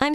I'm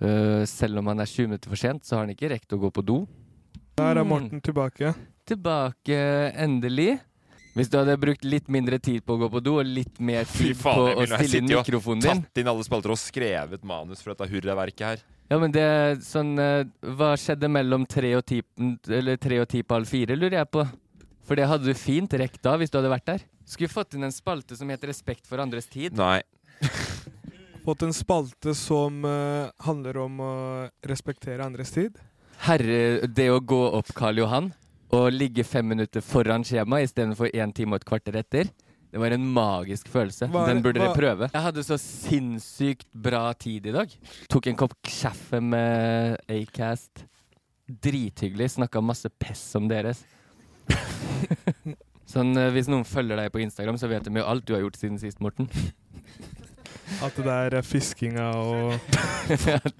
Eh, selv om han er 20 minutter for sent, så har han ikke rekt å gå på do. Der er Mm. Morten tilbake. Tilbake, endelig. Hvis du hadde brukt litt mindre tid på å gå på do, og litt mer Fy tid faen, på å Emil, nå har jeg stille inn sittet og mikrofonen din tatt inn alle spalter og skrevet manus for dette hurraverket her. Ja, men det er sånn eh, Hva skjedde mellom tre og ti Eller tre og ti på halv fire, lurer jeg på. For det hadde du fint rekt da, hvis du hadde vært der. Skulle fått inn en spalte som heter 'Respekt for andres tid'. Nei. Fått en spalte som eh, handler om å respektere andres tid. Herre, det å gå opp Karl Johan og ligge fem minutter foran skjema istedenfor én time og et kvarter etter, det var en magisk følelse. Hva er- Den burde dere hva- prøve. Jeg hadde så sinnssykt bra tid i dag. Tok en kopp kaffe med Acast. Drithyggelig. Snakka masse pess om deres. sånn, eh, Hvis noen følger deg på Instagram, så vet de jo alt du har gjort siden sist, Morten. At det der er eh, fiskinga og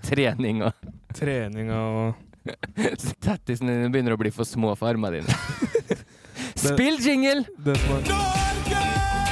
Trening og treninga og Tattisene dine begynner å bli for små for armene dine. Spill jingle! det som er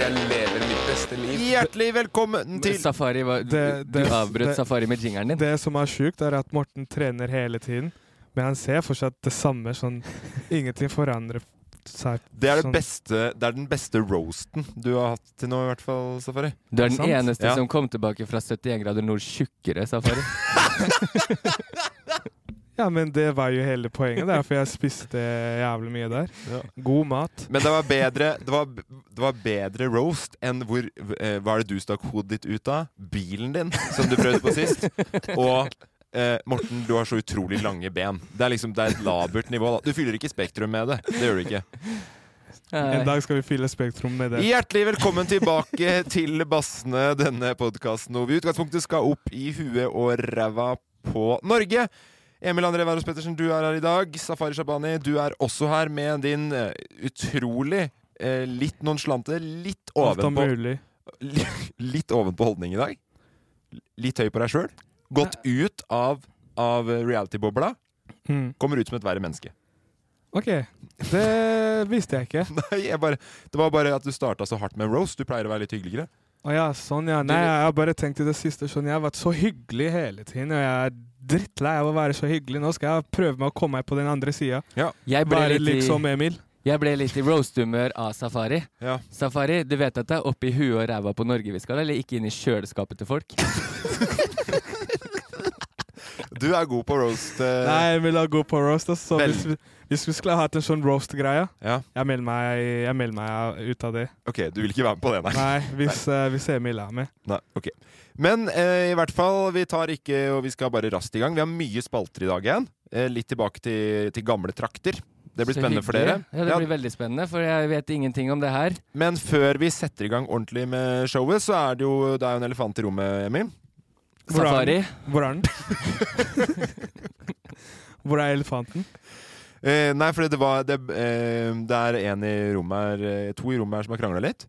Jeg lever mitt beste liv. Hjertelig velkommen til Safari var, du, Det- det- du avbrøt det- Safari med jingeren din. Det som er sjukt, er at Morten trener hele tiden, men han ser fortsatt det samme. sånn Ingenting forandrer seg. Det er, det, Sånn. beste, det er den beste roasten du har hatt til nå, i hvert fall, Safari. Du er den sant? eneste Ja. som kom tilbake fra 71 grader nord tjukkere, Safari. Ja, men det var jo hele poenget. Det er derfor jeg spiste jævlig mye der. Ja. God mat. Men det var bedre, det var, det var bedre roast enn hvor eh, Hva er det du stakk hodet ditt ut av? Bilen din, som du prøvde på sist. Og eh, Morten, du har så utrolig lange ben. Det er liksom, det er et labert nivå. da Du fyller ikke Spektrum med det. Det gjør du ikke. En Nei. dag skal vi fylle Spektrum med det. Hjertelig velkommen tilbake til Bassene, denne podkasten hvor vi i utgangspunktet skal opp i huet og ræva på Norge. Emil André Wærås Pettersen, du er her i dag. Safari Shabani, du er også her med din eh, utrolig eh, litt nonchalante, litt Alt om ovenpå, mulig. litt ovenpå holdning i dag. Litt høy på deg sjøl. Gått ut av, av reality-bobla. Mm. Kommer ut som et verre menneske. OK. Det visste jeg ikke. Nei, jeg bare, det var bare at du starta så hardt med en roast. Du pleier å være litt hyggeligere. Å ja, sånn ja. Nei, jeg har bare tenkt i det siste sånn Jeg har vært så hyggelig hele tiden, og jeg er drittlei av å være så hyggelig. Nå skal jeg prøve meg å komme meg på den andre sida. Eh, Jeg ble Være litt lik som i, Emil. jeg ble litt i roast-humør av Safari. Ja. Safari, du vet at det er opp i huet og ræva på Norge vi skal, eller ikke inn i kjøleskapet til folk? Du er god på roast. eh, Nei, Emil er god på roast. ass. Så Vel. hvis, vi, hvis vi skulle ha hatt en sånn roast-greie Ja. Jeg melder meg, jeg melder meg ut av det. Ok, du vil ikke være med på det, nei. Nei, hvis, eh, hvis Emil er med. nei ok. Men eh, i hvert fall, vi tar ikke Og vi skal bare raskt i gang. Vi har mye spalter i dag igjen. Eh, litt tilbake til, til gamle trakter. Det blir Så spennende for dere. hyggelig. Ja, det blir veldig spennende, for jeg vet ingenting om det her. Men før vi setter i gang ordentlig med showet, så er det jo, det er jo en elefant i rommet, Emil. Hvor er Safari, den? Hvor er den? Hvor er elefanten? Eh, nei, for det, var, det, eh, det er en i rommet her, eh, to i rommet her som har krangla litt.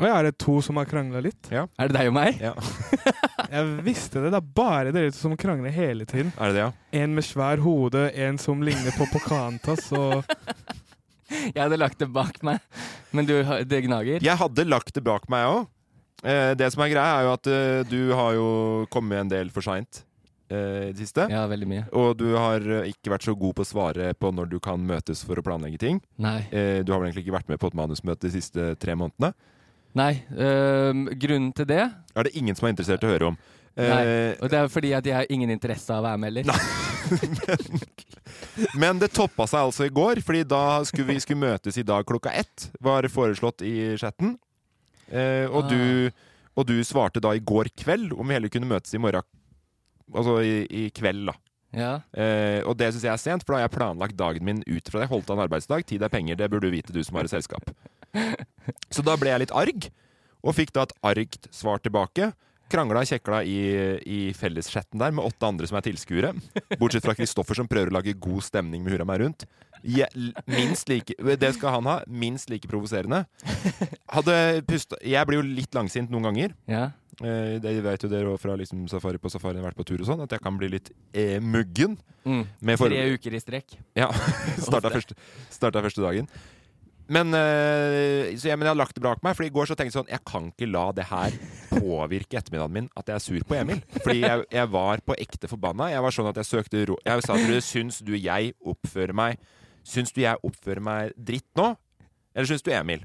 Å ja, er det to som har krangla litt? Er det deg og meg? Ja. Jeg visste det. Det er bare dere to som krangler hele tiden. Er det det, ja? En med svær hode, en som ligner på Pocantas og Jeg hadde lagt det bak meg, men du, har- det gnager? Jeg hadde lagt det bak meg òg. Eh, det som er greia, er jo at eh, du har jo kommet en del for seint eh, i det siste. Ja, veldig mye. Og du har eh, ikke vært så god på å svare på når du kan møtes for å planlegge ting. Nei. Eh, du har vel egentlig ikke vært med på et manusmøte de siste tre månedene. Nei, øhm, grunnen til det Er det ingen som er interessert i å høre om. Nei, Eh, Og det er fordi at jeg har ingen interesse av å være med heller. men det toppa seg altså i går, Fordi da skulle vi skulle møtes i dag klokka ett, var det foreslått i chatten. Eh, og, Ah. du, og du svarte da i går kveld om vi heller kunne møtes i morgen. Altså i, i kveld, da. Ja. Eh, og det syns jeg er sent, for da har jeg planlagt dagen min ut fra det. Jeg Holdt av en arbeidsdag. Tid er penger, det burde du vite, du som har et selskap. Så da ble jeg litt arg, og fikk da et argt svar tilbake. Krangla og kjekla i, i felleschatten der med åtte andre som er tilskuere. Bortsett fra Kristoffer, som prøver å lage god stemning med hurra meg rundt. Je- l- minst like, det skal han ha. Minst like provoserende. Hadde pusta Jeg blir jo litt langsint noen ganger. ja. Eh, det vet jo dere òg fra liksom, safari på safari, vært på tur og sånn, at jeg kan bli litt eh, muggen. Mm. Med for- Tre uker i strekk. ja, starta første, starta første dagen. Men, eh, så jeg, men jeg har lagt det bak meg, for i går så tenkte jeg sånn Jeg kan ikke la det her påvirke ettermiddagen min at jeg er sur på Emil. Fordi jeg, jeg var på ekte forbanna. Jeg var sånn at jeg søkte ro Jeg sa til dere Syns du jeg oppfører meg Syns du jeg oppfører meg dritt nå? Eller syns du Emil?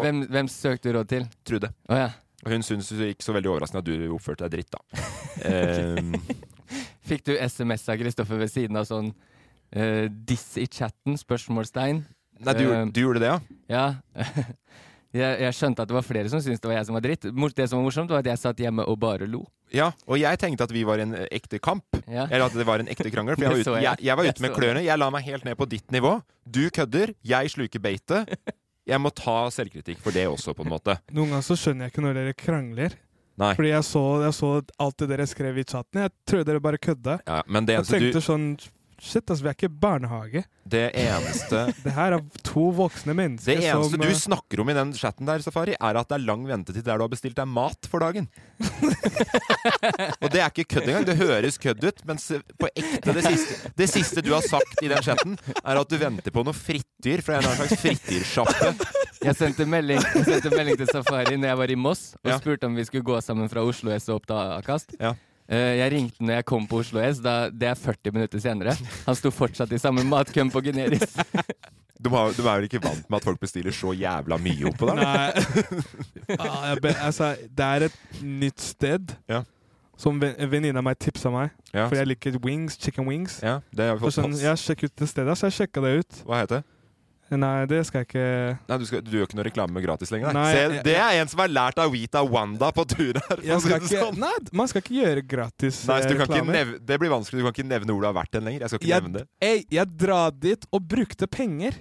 Hvem, hvem søkte du råd til? Trude. Å ja. Og Hun syns ikke så veldig overraskende at du oppførte deg dritt, da. Eh, Fikk du SMS av Kristoffer ved siden av sånn eh, Diss i chatten? Spørsmålstegn. nei, du, gjorde- du gjorde det, ja? Ja. jeg, jeg skjønte at det var flere som syntes det var jeg som var dritt. Mor- Det som var morsomt, var at jeg satt hjemme og bare lo. Ja, og jeg tenkte at vi var i en eh, ekte kamp. Ja. Eller at det var en ekte krangel. For Det jeg var ute, så jeg. jeg, jeg var Det ute så med jeg. klørne. Jeg la meg helt ned på ditt nivå. Du kødder, jeg sluker beitet. Jeg må ta selvkritikk for det også, på en måte. Noen ganger så skjønner jeg ikke når dere krangler. Nei. Fordi jeg så, jeg så alt det dere skrev i chatten. Jeg trodde dere bare kødda. Ja, men det Jeg eneste, tenkte du, sånn Shit, altså, vi er ikke barnehage. det, eneste, Det her er to voksne det mennesker eneste som du eh, snakker om i den chatten der, Safari, er at det er lang ventetid der du har bestilt deg mat for dagen. Og det er ikke kødd engang. Det høres kødd ut, mens på ekte det siste, det siste du har sagt i den chatten, er at du venter på noe frityr fra en eller annen slags frityrsjappe. Jeg sendte, melding, jeg sendte melding til Safari når jeg var i Moss, og Ja. spurte om vi skulle gå sammen fra Oslo S og opp til Akast. Ja. Eh, jeg ringte når jeg kom på Oslo S, da, det er 40 minutter senere. Han sto fortsatt i samme matkøm på Gunerius. De, har, de er vel ikke vant med at folk bestiller så jævla mye oppå der? Nei. Ja, jeg be, altså, det er et nytt sted Ja. som ven- en venninne av meg tipsa meg. Ja, For jeg liker wings, chicken wings. ja, det har vi Og fått sånn, pass. jeg sjekket ut det stedet, så jeg sjekka det ut. Hva heter det? Nei, det skal jeg ikke Nei, du, skal, du gjør ikke noe reklame med gratis lenger? Nei. Nei, Se, jeg- det er en som har lært av Wita Wanda på tur her. for å jeg si skal det ikke, sånn. Nei, man skal ikke gjøre gratis Nei, eh, så du kan ikke reklame. nev- det blir vanskelig. Du kan ikke nevne hvor du har vært hen lenger. Jeg skal ikke nevne Jeg, det. Ei, jeg drar dit og brukte penger.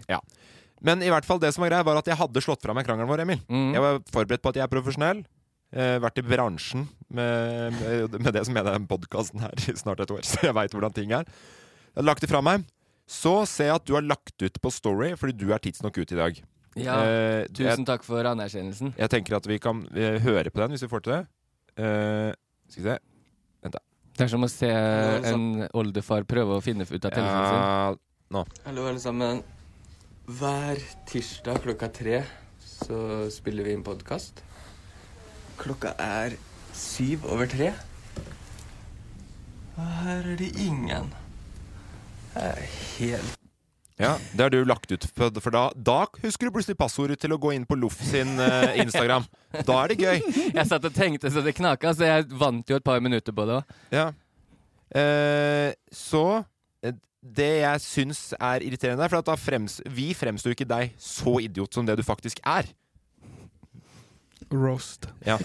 Men i hvert fall det som var greia, var at jeg hadde slått fra meg krangelen vår, Emil. Mm. Jeg var forberedt på at jeg er profesjonell. Eh, vært i bransjen med, med, med det som mener den podkasten her i snart et år, så jeg veit hvordan ting er. Jeg har lagt det fra meg. Så ser jeg at du har lagt ut på Story, fordi du er tidsnok ute i dag. Mm. Ja, Eh, jeg, tusen takk for anerkjennelsen. jeg tenker at vi kan eh, høre på den hvis vi får til det. Eh, skal vi se Det er som å se en oldefar prøve å finne ut av telefonen sin. Ja, Hallo, alle sammen. Hver tirsdag klokka tre så spiller vi inn podkast. Klokka er syv over tre. Og her er det ingen. Det er helt ja, Det har du lagt ut, for for da, da husker du plutselig passordet til å gå inn på Loff sin eh, Instagram. Da er det gøy. Jeg satt og tenkte så det knaka, så jeg vant jo et par minutter på det òg. Ja. Eh, så eh, Det jeg syns er irriterende, er for at da frems, vi fremstår jo ikke deg så idiot som det du faktisk er. Roast. Ja.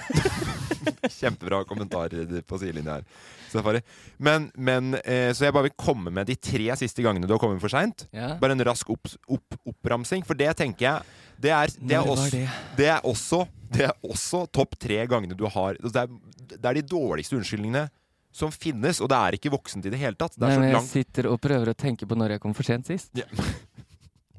Kjempebra kommentarer på sidelinja her. Safari. Men, men eh, Så jeg bare vil komme med de tre siste gangene du har kommet for seint. Ja. Bare en rask opp, opp, oppramsing, for det tenker jeg Det er, det er, Når var også, det? det er altså, også Det er også topp tre gangene du har Det er, det er de dårligste unnskyldningene som finnes, og det er ikke voksent i det hele tatt. Det Nei, er men så jeg langt sitter og prøver å tenke på når jeg kom for sent sist. Ja.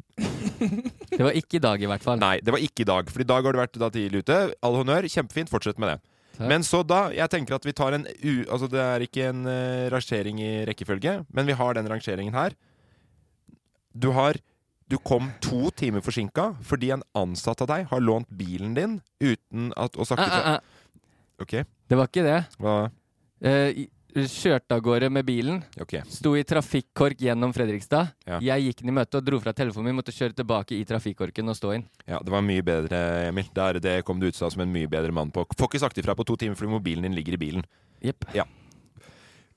det var ikke i dag, i hvert fall. Nei, det var ikke i dag, for i dag har du vært da tidlig ute. All honnør, kjempefint, fortsett med det. Takk. Men så da, jeg tenker at vi tar en u... Altså det er ikke en eh, rangering i rekkefølge, men vi har den rangeringen her. Du har Du kom to timer forsinka fordi en ansatt av deg har lånt bilen din uten at å snakke Ah, ah, til ah. Ok, Det var ikke det. hva Eh, i- Kjørte av gårde med bilen. Ok. Sto i trafikkork gjennom Fredrikstad. Ja. Jeg gikk den i møte og dro fra telefonen min. Måtte kjøre tilbake i trafikkorken og stå inn. Ja, det var mye bedre, Emil. Der, det kom du ut som en mye bedre mann på. Får ikke sagt ifra på to timer fordi mobilen din ligger i bilen. Jepp.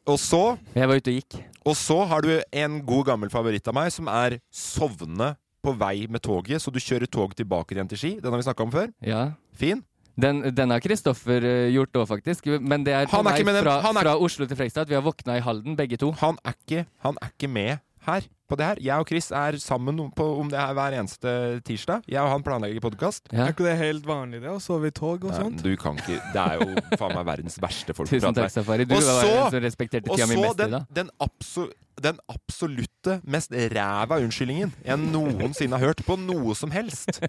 Og så Jeg var ute og gikk. Og så har du en god gammel favoritt av meg, som er sovne på vei med toget, så du kjører tog tilbake igjen til Ski. Den har vi snakka om før. Ja. Fin. Den, den har Kristoffer eh, gjort òg, faktisk. Men det er på Han er vei ikke med dem. fra, Han er fra Oslo til Fredrikstad. Vi har våkna i Halden, begge to. Han er ikke, han er ikke med her på det her. Jeg og Chris er sammen om- på, om det her hver eneste tirsdag. Jeg og han planlegger podkast. Ja. Er ikke det helt vanlig, det? Å sove i tog og sånt? Du kan ikke Det er jo faen meg verdens verste folk. å Tusen prate med. takk, Safari. Du Og var så- den som respekterte Og tida mi så mest i den, dag. den, abso, den absolutte mest ræva unnskyldningen jeg noensinne har hørt på noe som helst.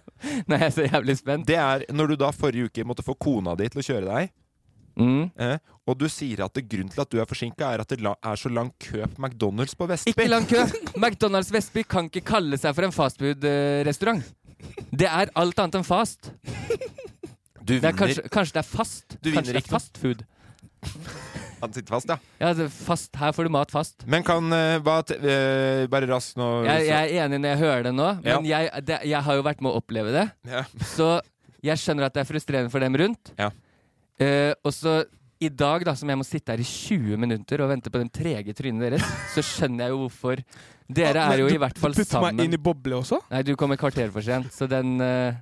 Nei, jeg er så jævlig spent. Det er når du da forrige uke måtte få kona di til å kjøre deg. Mm. Eh, og du sier at det grunnen til at du er forsinka, er at det la, er så lang kø på McDonald's på Vestby. Ikke lang kø. McDonald's Vestby kan ikke kalle seg for en fastfood-restaurant. Det er alt annet enn fast. Du Det vinner. er kanskje, kanskje det er fast. Du vinner kanskje det ikke er fast food. Han sitter fast, ja. Ja, det er fast. Her får du mat fast. Men kan eh, hva t eh, Bare raskt nå Jeg, jeg er enig når jeg hører det nå, men jeg, det, jeg har jo vært med å oppleve det. Ja. Så jeg skjønner at det er frustrerende for dem rundt. Ja. Eh, og så i dag, da, som jeg må sitte her i 20 minutter og vente på den trege trynet deres, så skjønner jeg jo hvorfor. Dere Men er jo du- i hvert fall Du putter meg inn sammen. i boble også? Nei, du kom et kvarter for sent, så den eh,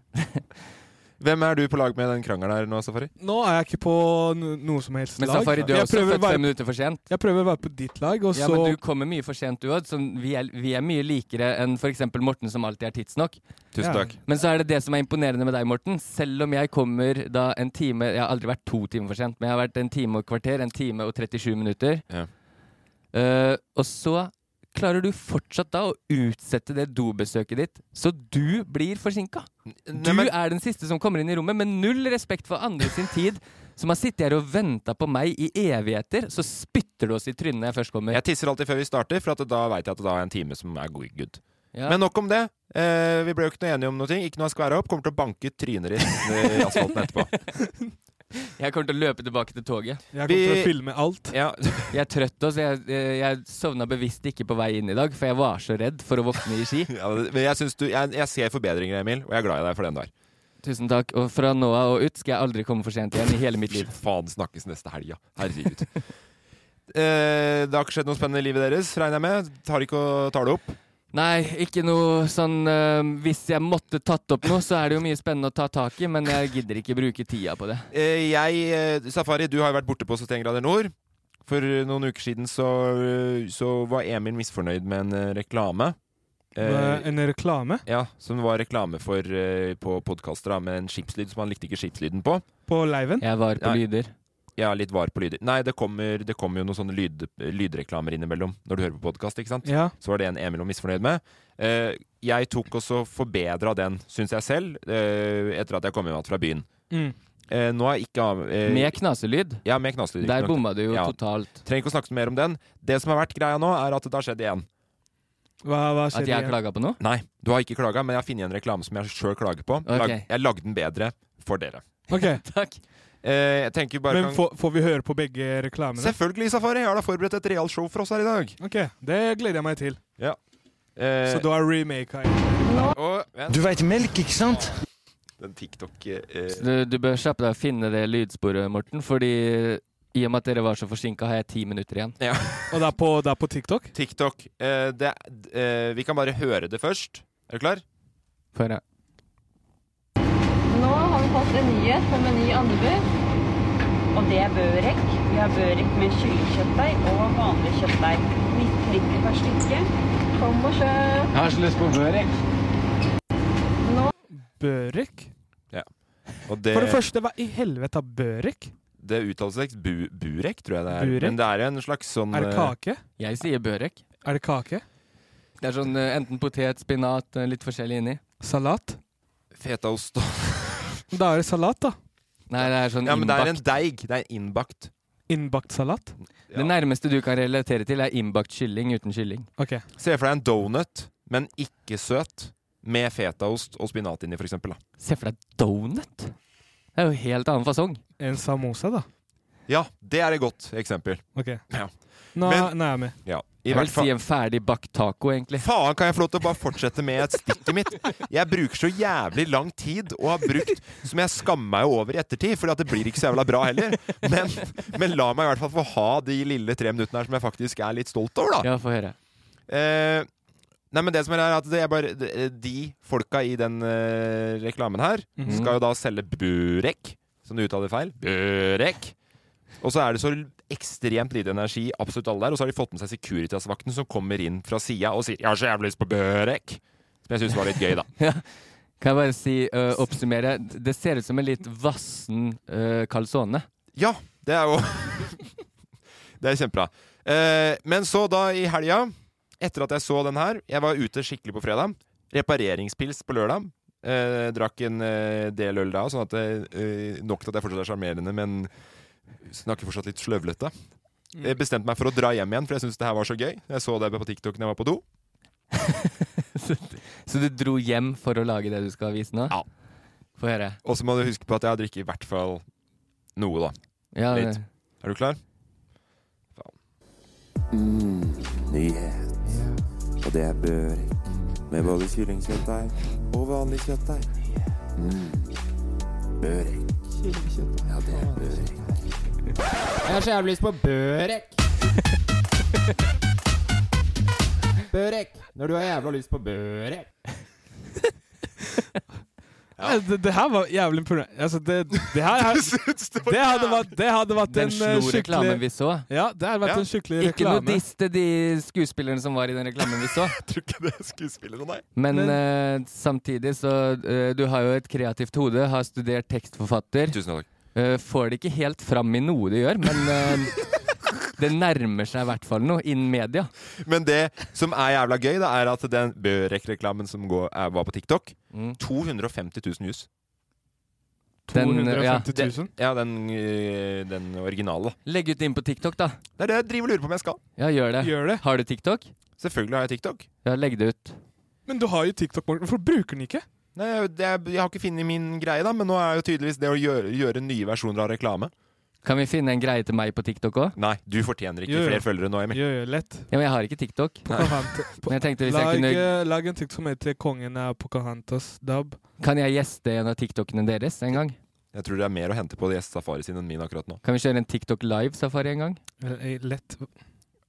Hvem er du på lag med i den krangelen her nå, Safari? Nå er jeg ikke på no- noe som helst Men lag. Safari, du er jeg, også prøver å født fem være, minutter for sent. jeg prøver å være på ditt lag, og Ja, så men du kommer mye for sent, du òg. Vi, er- vi er mye likere enn f.eks. Morten, som alltid er tidsnok. Tusen Ja. takk. Men så er det det som er imponerende med deg, Morten. Selv om jeg kommer da en time Jeg har aldri vært to timer for sent, men jeg har vært en time og kvarter. En time og 37 minutter. Ja. Eh, og så klarer du fortsatt da å utsette det dobesøket ditt, så du blir forsinka. Du Nei, men, er den siste som kommer inn i rommet, med null respekt for andre sin tid. Som har sittet her og venta på meg i evigheter, så spytter du oss i trynet når jeg først kommer. jeg tisser alltid før vi starter, for at da veit jeg at da er en time som er go- good. Ja. Men nok om det. Eh, vi ble jo ikke noe enige om noe. ting. Ikke noe å skvære opp. Kommer til å banke trynet ditt eh, i asfalten etterpå. Jeg kommer til å løpe tilbake til toget. jeg kommer til vi- å filme alt. Ja, Jeg er trøtt, og så jeg, eh, jeg sovna bevisst ikke på vei inn i dag, for jeg var så redd for å våkne i ski. ja, men jeg, synes du, jeg, jeg ser forbedringer, Emil, og jeg er glad i deg for den der. Tusen takk. Og fra nå av og ut skal jeg aldri komme for sent igjen i hele mitt liv. Faen, snakkes neste helg, ja. Herregud. Eh, det har ikke skjedd noe spennende i livet deres, regner jeg med? Tar ikke og tar det opp? Nei, ikke noe sånn eh, Hvis jeg måtte tatt opp noe, så er det jo mye spennende å ta tak i, men jeg gidder ikke bruke tida på det. Eh, jeg, eh, Safari, du har jo vært borte på 71 grader nord. For eh, noen uker siden så, eh, så var Emil misfornøyd med en eh, reklame. Med Eh, en reklame ja, Som var reklame for eh, på podkaster da, med en skipslyd som han likte ikke skipslyden på. på leiven. Jeg var på Nei. lyder. Jeg er litt var på lyder. Nei, det kommer, det kommer jo noen sånne lyd, lydreklamer innimellom når du hører på podkast, ikke sant? Ja. Så var det en Emil var misfornøyd med. Eh, jeg tok også forbedra den, syns jeg selv, eh, etter at jeg kom hjem igjen fra byen. Mm. Eh, nå er ikke av... eh, Med knaselyd. ja, med knaslyd. Der riktignok. bomma du jo Ja. totalt. Trenger ikke å snakke mer om den. Det som har vært greia nå, er at det har skjedd igjen. Hva, hva At skjer jeg igjen? klaga på noe? Nei, du har ikke klaga, men jeg har funnet en reklame som jeg sjøl klager på. Ok. Lag, jeg lagde den bedre for dere. Ok, Takk. Eh, jeg tenker vi bare Men kan... får, får vi høre på begge reklamene? Selvfølgelig, Safari! Jeg har da forberedt et realshow for oss her i dag. Ok, Det gleder jeg meg til. Eh, Så du har remaka og, vent, Du veit melk, ikke sant? den TikTok eh, Du, du bør kjappe deg å finne det lydsporet, Morten, fordi i og med at dere var så forsinka, har jeg ti minutter igjen. Og det er på, det er på TikTok? TikTok. Eh, det, eh, vi kan bare høre det først. Er du klar? Får jeg- Nå har vi fått en nyhet på Meny Andebø. Og det er børek. Vi har børek med kyllingkjøttdeig og vanlig kjøttdeig. 19 liter per stykke. Kom og kjøp. Jeg har så lyst på børek. Børek? Og det, For det første, hva i helvete er børek? Det uttales ikke bu burek, tror jeg det er. Burek? Men det er en slags sånn Er det kake? Jeg sier børek. Er det kake? Det er sånn eh, enten potet, spinat, eh, litt forskjellig inni. Salat? Fetaost Sånn Da er det salat, da. Nei, det er sånn Ja, men det er en innbakt. deig. Det er innbakt. Innbakt salat? Det nærmeste du kan relatere til, er innbakt kylling uten kylling. Ok. Se for deg en donut, men ikke søt, med fetaost og spinat inni, for eksempel. Da. Se for deg donut! Det er jo helt annen fasong. En samosa, da. Ja, det er et godt eksempel. Ok. Ja. Nå, Men- nå er jeg med. Ja, i Jeg hvert vil fall. si en ferdig bakt taco, egentlig. Faen, kan jeg få lov til å bare fortsette med et stikket mitt? Jeg bruker så jævlig lang tid, og har brukt som jeg skammer meg over i ettertid, fordi at det blir ikke så jævla bra heller. Men, men la meg i hvert fall få ha de lille tre minuttene her som jeg faktisk er litt stolt over, da. Ja, få høre. Eh, nei, men det som er er at det er bare de- De folka i den eh, reklamen her skal jo da selge burek, som du uttaler feil. Burek. Og så er det så l- ekstremt lite energi i absolutt alle der, og så har de fått med seg Securitas-vakten som kommer inn fra sida og sier 'Jeg har så jævlig lyst på burek'. Som jeg syns var litt gøy, da. Kan jeg bare si, øh, oppsummere Det ser ut som en litt vassen øh, calzone. Ja, det er jo Det er kjempebra. Eh, men så da i helga, etter at jeg så den her Jeg var ute skikkelig på fredag. Repareringspils på lørdag. Eh, drakk en eh, del øl da, sånn at det, eh, nok til at jeg fortsatt er sjarmerende, men snakker fortsatt litt sløvlete. Jeg bestemte meg for å dra hjem igjen, for jeg syntes det her var så gøy. Jeg så det på TikTok når jeg var på do. Så du dro hjem for å lage det du skal vise nå? Ja. Få høre. Og så må du huske på at jeg har drukket i hvert fall noe, da. Ja, eh. Litt. Er du klar? Nyhet. Og det er børek. Med både kyllingkjøttdeig og vanlig kjøttdeig. Mm. Børek. Ja, det er børek. Jeg har så jævlig lyst på børek. Børek. Når du har jævla lyst på børek. Nei, Det, det her var jævlig imponerende. Altså, det, det her Du er- synes det var det hadde vært, det hadde vært Den en eh, slo skikkelig reklamen vi så. Ja, det hadde vært Ja. en skikkelig Ikke noe reklame. diss til de skuespillerne som var i den reklamen vi så. Jeg tror ikke det er skuespillere, nei. Men, øh, samtidig så øh, Du har jo et kreativt hode, har studert tekstforfatter. Tusen takk. Øh, får det ikke helt fram i noe du gjør, men øh, det nærmer seg i hvert fall noe innen media. Men det som er jævla gøy, da, er at den Børek-reklamen som går, er, var på TikTok Mm. 250 000 views. Den, øh, ja. 250 000. Ja, den, øh, den originale. Legg ut det inn på TikTok, da. Det er det jeg driver og lurer på om jeg skal. Ja, gjør det. Gjør det. Har du TikTok? Selvfølgelig har jeg TikTok. Ja, legg det ut. Men du har jo TikTok, Morten. Hvorfor bruker den ikke? Nei, jeg, det, er- jeg har ikke funnet min greie, da, men nå er jo tydeligvis det å gjøre, gjøre nye versjoner av reklame. Kan vi finne en greie til meg på TikTok òg? Nei, du fortjener ikke Jo, jo. flere følgere nå, Emil. Jo, jo, lett. Ja, men jeg har ikke TikTok. Pocahontas. Men jeg tenkte hvis jeg Lag, kunne eh, lag en TikTok som heter 'Kongen av Pocahontas dub'. Kan jeg gjeste en av TikTokene deres en gang? Jeg tror det er mer å hente på Gjest Safari sin enn min akkurat nå. Kan vi kjøre en TikTok Live-safari en gang? Eh, eh, Lett.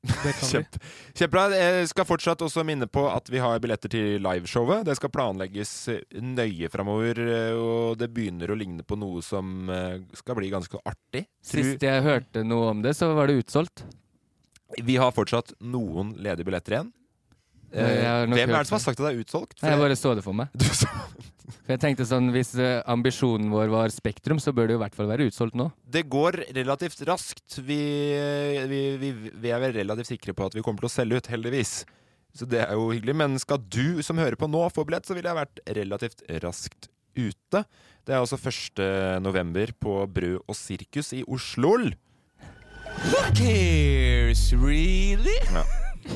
Det kan vi. Kjempe. Kjempebra. Jeg skal fortsatt også minne på at vi har billetter til liveshowet. Det skal planlegges eh, nøye framover, eh, og det begynner å ligne på noe som eh, skal bli ganske artig. Tror- Sist jeg hørte noe om det, så var det utsolgt. Vi har fortsatt noen ledige billetter igjen. Ja, jeg Eh, har nok Hvem er hørt det som har sagt at det er utsolgt? For Nei, jeg bare så det for meg. du sa- For jeg tenkte sånn, Hvis eh, ambisjonen vår var Spektrum, så bør det jo i hvert fall være utsolgt nå. Det går relativt raskt. Vi, vi, vi, vi er vel relativt sikre på at vi kommer til å selge ut, heldigvis. Så det er jo hyggelig. Men skal du som hører på nå få billett, så ville jeg vært relativt raskt ute. Det er altså 1. november på Brød og sirkus i Oslo. Cares really?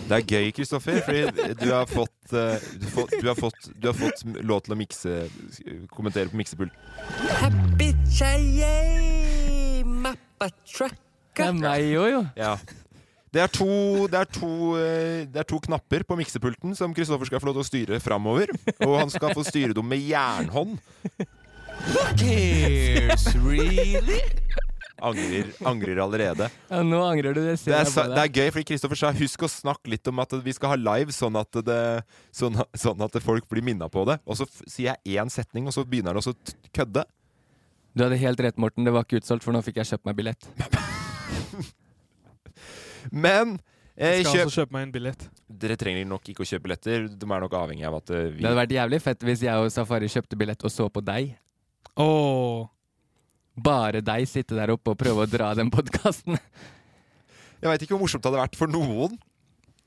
Det er gøy, Kristoffer, fordi du har fått, eh, du får- du har fått, du har fått lov til å mikse, kommentere på miksepult. Det er meg òg, jo. Ja. Det er to, det er to, eh, det er to knapper på miksepulten som Kristoffer skal få lov til å styre framover. Og han skal få styre dem med jernhånd. Cares really? Angrer, angrer allerede. Ja, nå angrer du. Det Det ser er, jeg på sa- det deg. er gøy, fordi Kristoffer sa 'husk å snakke litt om at vi skal ha live', sånn at, det, sånn, at- sånn at folk blir minna på det. Og så f- sier jeg én setning, og så begynner han også å t- kødde. Du hadde helt rett, Morten. Det var ikke utsolgt, for nå fikk jeg kjøpt meg billett. Men eh, Jeg skal kjøp også kjøpe meg en billett. Dere trenger nok ikke å kjøpe billetter. De er nok avhengig av at eh, vi Det hadde vært jævlig fett hvis jeg og Safari kjøpte billett og så på deg. Åh bare deg sitte der oppe og prøve å dra den podkasten. Jeg veit ikke hvor morsomt det hadde vært for noen.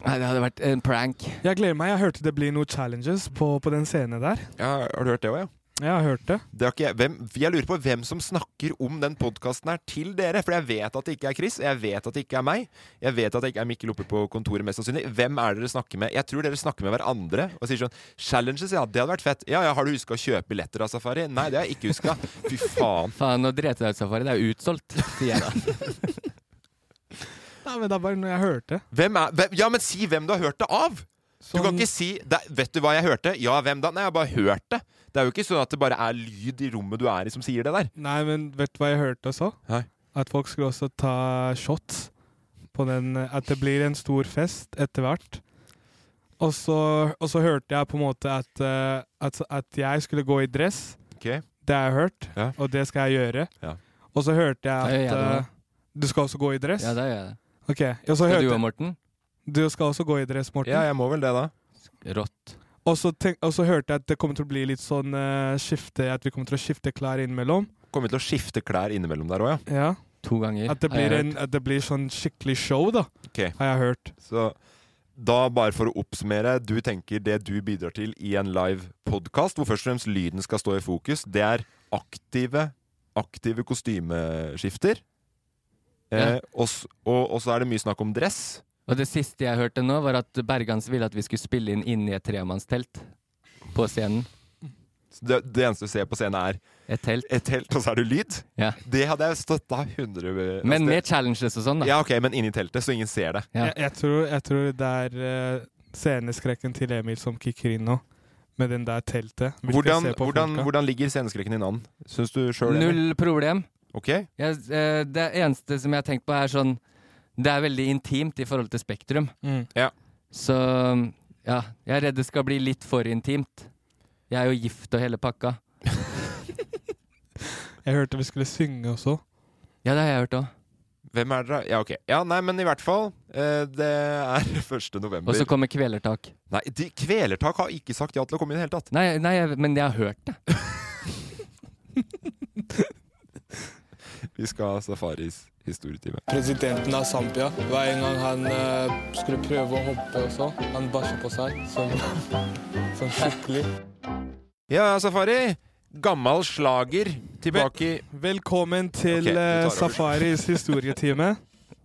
Nei, det hadde vært en prank. Jeg gleder meg. Jeg hørte det blir noen challenges på, på den scenen der. Ja, har du hørt det òg, ja? Jeg har hørt det. Det har ikke jeg. Hvem, jeg lurer på hvem som snakker om den podkasten her til dere. For jeg vet at det ikke er Chris, jeg vet at det ikke er meg. Jeg vet at det ikke er Mikkel oppe på kontoret, mest sannsynlig. Hvem er det dere snakker med? Jeg tror dere snakker med hverandre og sier sånn Challenges, ja, det hadde vært fett. Ja, ja, har du huska å kjøpe billetter av Safari? Nei, det har jeg ikke huska. Fy faen. Faen, nå dreit jeg ut safari. Det er jo utsolgt, sier jeg da. Nei, men det er bare når jeg hørte. Sånn Hvem er hvem, Ja, men si hvem du har hørt det av! Du kan ikke si det, 'Vet du hva jeg hørte?' Ja, hvem da? Nei, jeg har bare hørt det. Det er jo ikke sånn at det bare er lyd i rommet du er i som sier det der. Nei, men vet du hva jeg hørte også? Nei. At folk skulle også ta shots på den At det blir en stor fest etter hvert. Og så, og så hørte jeg på en måte at, eh, at, at jeg skulle gå i dress. Ok. Det har jeg hørt, Ja. og det skal jeg gjøre. Ja. Og så hørte jeg Da gjør at jeg det eh, du skal også gå i dress. Ja, da gjør jeg det. Ok, og så Skal hørte du og jeg- Morten? Du skal også gå i dress, Morten. Ja, jeg må vel det, da. Rått. Og så, tenk, og så hørte jeg at det kommer til å bli litt sånn eh, skifte, at vi kommer til å skifte klær innimellom. Kommer til å skifte klær innimellom der òg, ja. Ja. To ganger. At det, har jeg blir hørt. en, at det blir sånn skikkelig show, da, Ok. har jeg hørt. Så da, bare for å oppsummere, du tenker det du bidrar til i en live podkast, hvor først og fremst lyden skal stå i fokus, det er aktive, aktive kostymeskifter. Eh, Ja. og, s- og, og så er det mye snakk om dress. Og det siste jeg hørte nå, var at Bergans ville at vi skulle spille inn inni et tremannstelt på scenen. Så Det, det eneste du ser på scenen, er Et telt. et telt, og så er det lyd. Ja. Det hadde jeg støtta 100 altså, Men det- med challenges og sånn, da. Ja, ok, men inni teltet, så ingen ser det. Ja. Jeg, jeg, tror, jeg tror det er eh, sceneskrekken til Emil som kicker inn nå, med den der teltet. Vi skal Hvordan, se på hvordan, folka. hvordan ligger sceneskrekken din an? Syns du sjøl det? Null problem. Ok? Jeg, eh, det eneste som jeg har tenkt på, er sånn Det er veldig intimt i forhold til Spektrum. Mm. Ja. Så ja, jeg er redd det skal bli litt for intimt. Jeg er jo gift og hele pakka. Jeg hørte vi skulle synge også. Ja, det har jeg hørt òg. Hvem er dere? Ja, ok. Ja, nei, men i hvert fall. eh, Det er 1. november. Og så kommer kvelertak. Nei, de, Kvelertak har ikke sagt ja til å komme i det hele tatt. Nei, nei, jeg- men jeg har hørt det. Vi skal ha Safaris historietime. Presidenten av Zambia, hver gang han eh, skulle prøve å hoppe og så, han bæsja på seg som, skikkelig. Ja, ja, Safari! Gammal slager tilbake i Velkommen til Ok, vi tar eh, over. Safaris historietime.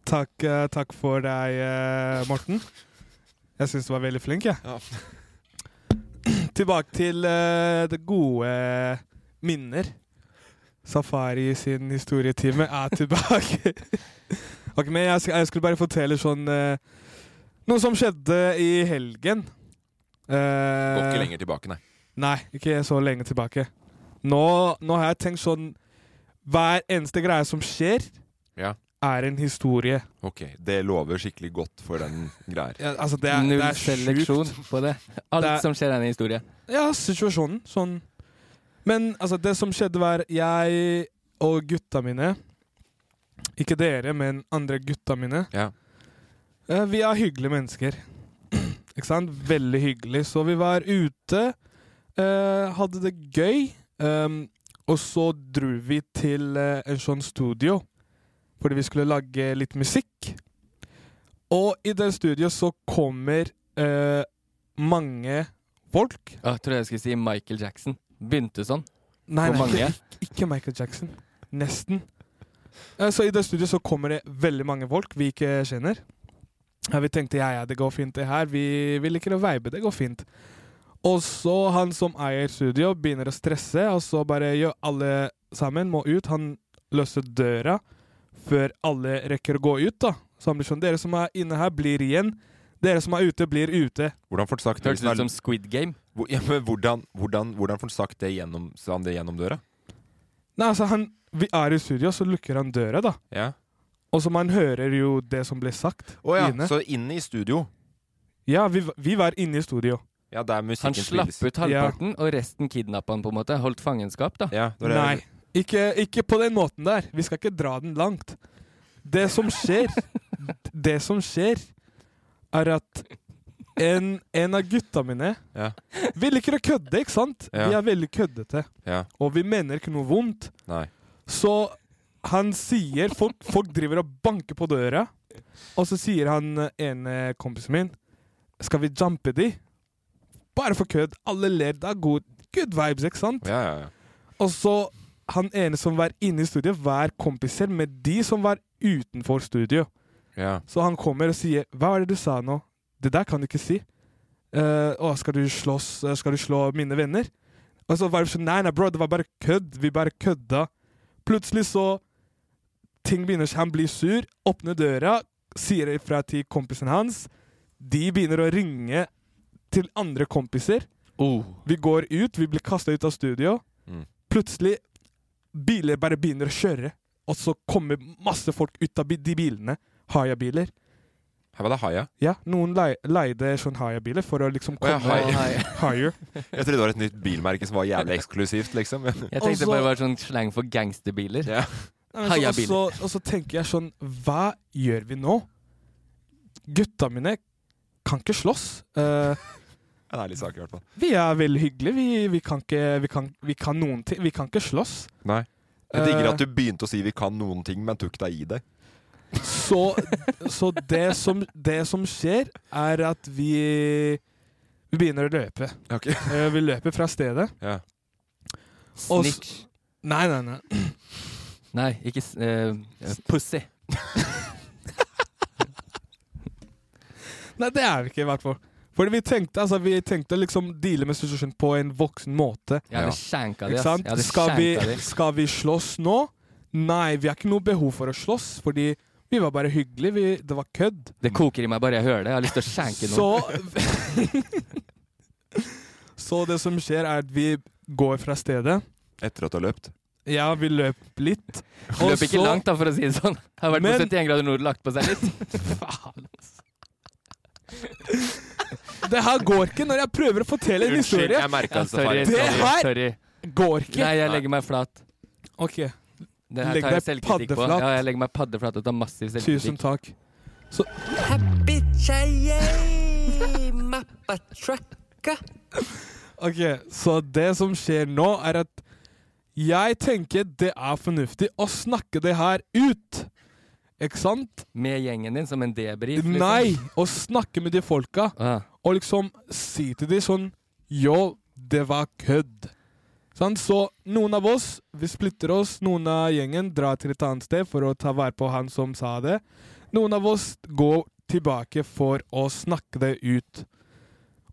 Takk, eh, takk for deg, eh, Morten. Jeg syns du var veldig flink, jeg. Ja. Tilbake til eh, det gode minner. Safari sin historietime er tilbake. ok, men jeg, sk- jeg skulle bare fortelle sånn eh, Noe som skjedde i helgen. Eh, Går ikke lenger tilbake, nei. Nei, ikke så lenge tilbake. Nå, nå har jeg tenkt sånn Hver eneste greie som skjer, Ja. er en historie. Ok, Det lover skikkelig godt for den greia her. Ja, altså, det er, Null det er seleksjon sjukt. på det. Alt Det er- som skjer, er en historie. Ja, situasjonen. Sånn. Men altså, det som skjedde, var jeg og gutta mine Ikke dere, men andre gutta mine. Ja. Eh, Vi er hyggelige mennesker. Ikke sant? Veldig hyggelig. Så vi var ute, eh, hadde det gøy, ehm, og så dro vi til eh, en sånn studio, fordi vi skulle lage litt musikk. Og i det studioet så kommer eh, mange folk. Å, jeg tror jeg skulle si Michael Jackson. Begynte sånn. Nei, Hvor mange? Ikke, ikke Michael Jackson. Nesten. Eh, Så i det studioet så kommer det veldig mange folk vi ikke kjenner. Ja, Vi tenkte ja, ja, det går fint det her. Vi vi liker å veibe, det går fint. Og så han som eier studio, begynner å stresse, og så bare gjør alle sammen må ut. Han løser døra før alle rekker å gå ut, da. Så han blir sånn Dere som er inne her, blir igjen. Dere som er ute, blir ute. Hvordan får han sagt det? Hørtes ut som Squid Game. Hvor- ja, men hvordan, hvordan, hvordan får han sagt det gjennom, sa han det gjennom døra? Nei, altså, han Vi er i studio, så lukker han døra, da. Ja. Og så man hører jo det som ble sagt. Å ja, inne. så inne i studio. Ja, vi, v- vi var inne i studio. Ja, der Han musikken slapp ut halvparten, og resten kidnappa han på en måte. Holdt fangenskap, da. Ja, når det- Nei, ikke, ikke på den måten der. Vi skal ikke dra den langt. Det som skjer, det som skjer, er at en, en av gutta mine Ja. Vi liker å kødde, ikke sant? Ja. Vi er veldig køddete, Ja, og vi mener ikke noe vondt. nei. Så han sier folk, folk driver og banker på døra, og så sier han eh, ene kompisen min Skal vi jumpe de? Bare for kødd. Alle ler. Det er good, good vibes, ikke sant? Og så han ene som var inne i studio, var kompiser med de som var utenfor studio. Ja. Så han kommer og sier 'Hva var det du sa nå?' 'Det der kan du ikke si'. Eh, 'Å, skal du slåss? eh, Skal du slå mine venner?' Og så var det sånn 'Nei, nei, bro, det var bare kødd. Vi bare kødda'. Plutselig så Ting begynner, Han blir sur, åpner døra, sier ifra til kompisen hans. De begynner å ringe til andre kompiser. Oh, Vi går ut, vi blir kasta ut av studio. Mm. Plutselig biler bare begynner å kjøre, og så kommer masse folk ut av bi- de bilene. Haya-biler. Her var det haia. Ja, noen lei- leide sånn haya-biler for å liksom Å ja, komme hai. higher. Jeg trodde det var et nytt bilmerke som var jævlig eksklusivt, liksom. Jeg tenkte bare det var sånn sleng for gangsterbiler. Ja. Nei, men så- Og Haia-biler. så- og så tenker jeg sånn Hva gjør vi nå? Gutta mine kan ikke slåss. Eh, Ja, det er litt sak, i hvert fall. vi er veldig hyggelige. Vi, vi, kan ikke, vi, kan, vi kan noen ting. Vi kan ikke slåss. Nei. Jeg digger Eh, at du begynte å si 'vi kan noen ting', men tok deg i det. Så, så det, som, det som skjer, er at vi Vi begynner å løpe. Ok. Eh, Vi løper fra stedet. Ja. Og s- Nei, nei, nei. Nei, ikke s- eh, Pussy. Nei, det er vi ikke, i hvert fall. Fordi vi tenkte, altså, vi tenkte liksom deale med situasjonen på en voksen måte. Jeg hadde skjenka de, Ikke ass. sant? Jeg hadde Skal vi, skjenka de. skal vi slåss nå? Nei, vi har ikke noe behov for å slåss, fordi vi var bare hyggelige. Vi, det var kødd. Det koker i meg bare jeg hører det. Jeg har lyst til å skjenke noen. Så Så det som skjer, er at vi går fra stedet. Etter at du har løpt? Ja, vi løp litt. Vi løp ikke langt, da, for å si det sånn. Jeg har vært Men- på 71 grader nord og lagt på seg litt. altså. Det her går ikke når jeg prøver å fortelle en Unnskyld, jeg historie. altså merket Ja, sorry, Det sorry, her sorry. går ikke. Nei, jeg legger meg flat. Ok. Det her Legg tar jeg deg selvkritikk på. paddeflat. Ja, jeg legger meg paddeflat og tar massiv selvkritikk. Tusen takk. Så Ok, så det som skjer nå er at jeg tenker det er fornuftig å snakke det her ut. Ikke sant? Med gjengen din som en debrief? liksom. Ah. Nei, å snakke med de folka. Og liksom si til de sånn Yo, det var kødd. Sant? Så noen av oss, vi splitter oss. Noen av gjengen drar til et annet sted for å ta vare på han som sa det. Noen av oss går tilbake for å snakke det ut.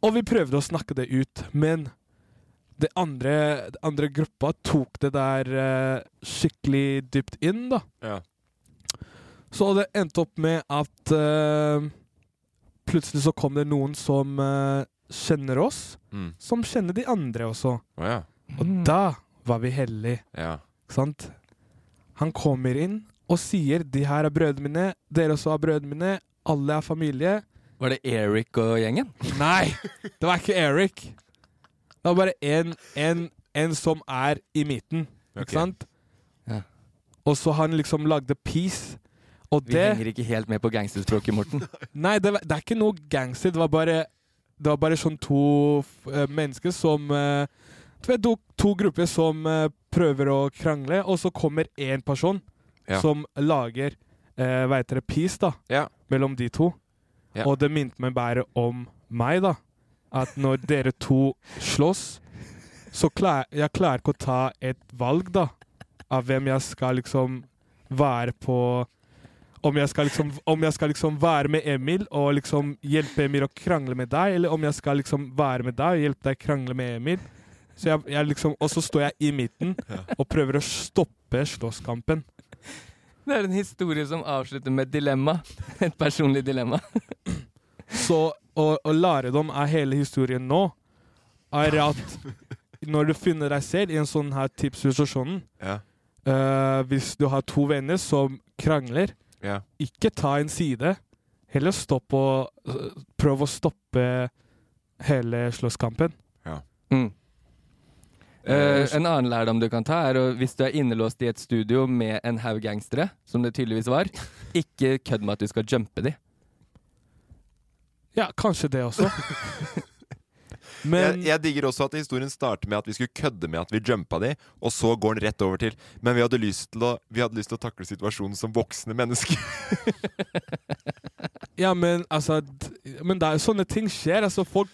Og vi prøvde å snakke det ut, men det andre, det andre gruppa tok det der eh, skikkelig dypt inn, da. Ja. Så det endte opp med at eh, plutselig så kom det noen som eh, kjenner oss, Mm. som kjenner de andre også. Å ja. Og Mm. da var vi heldige. Ja. Ikke sant? Han kommer inn og sier de her er brødrene mine, dere også er brødrene mine, alle er familie. Var det Eric og gjengen? Nei, det var ikke Eric. Det var bare en, en, en som er i midten, Ok. ikke sant? Ja. Og så han liksom lagde peace. Og Vi det henger ikke helt med på gangsterspråket, Morten. Nei, det, var, det er ikke noe gangster. Det var bare, det var bare sånn to f- eh, mennesker som eh, Du vet, to, to grupper som eh, prøver å krangle, og så kommer én person Ja. som lager uh, Hva heter det? Peace, da. Ja. Mellom de to. Ja. Og det minte meg bare om meg, da. At når dere to slåss, så klar, jeg klarer ikke å ta et valg, da. Av hvem jeg skal liksom være på om jeg, skal liksom, om jeg skal liksom være med Emil og liksom hjelpe Emil å krangle med deg, eller om jeg skal liksom være med deg og hjelpe deg å krangle med Emil. Så jeg, jeg liksom, og så står jeg i midten og prøver å stoppe slåsskampen. Det er en historie som avslutter med et dilemma. Et personlig dilemma. Så å, å lære dem av hele historien nå, er at når du finner deg selv i en sånn her tipssituasjonen, Ja. eh, hvis du har to venner som krangler, Ja. ikke ta en side. Heller stopp og eh, prøv å stoppe hele slåsskampen. Ja. Mm. Eh, en annen lærdom du kan ta, er å, hvis du er innelåst i et studio med en haug gangstere, som det tydeligvis var, ikke kødd med at du skal jumpe de. Ja, kanskje det også. jeg, jeg digger også at historien starter med at vi skulle kødde med at vi jumpa de, og så går den rett over til Men vi hadde lyst til å, vi hadde lyst til å takle situasjonen som voksne mennesker. Ja, men altså d- Men det er jo sånne ting skjer. Altså, folk,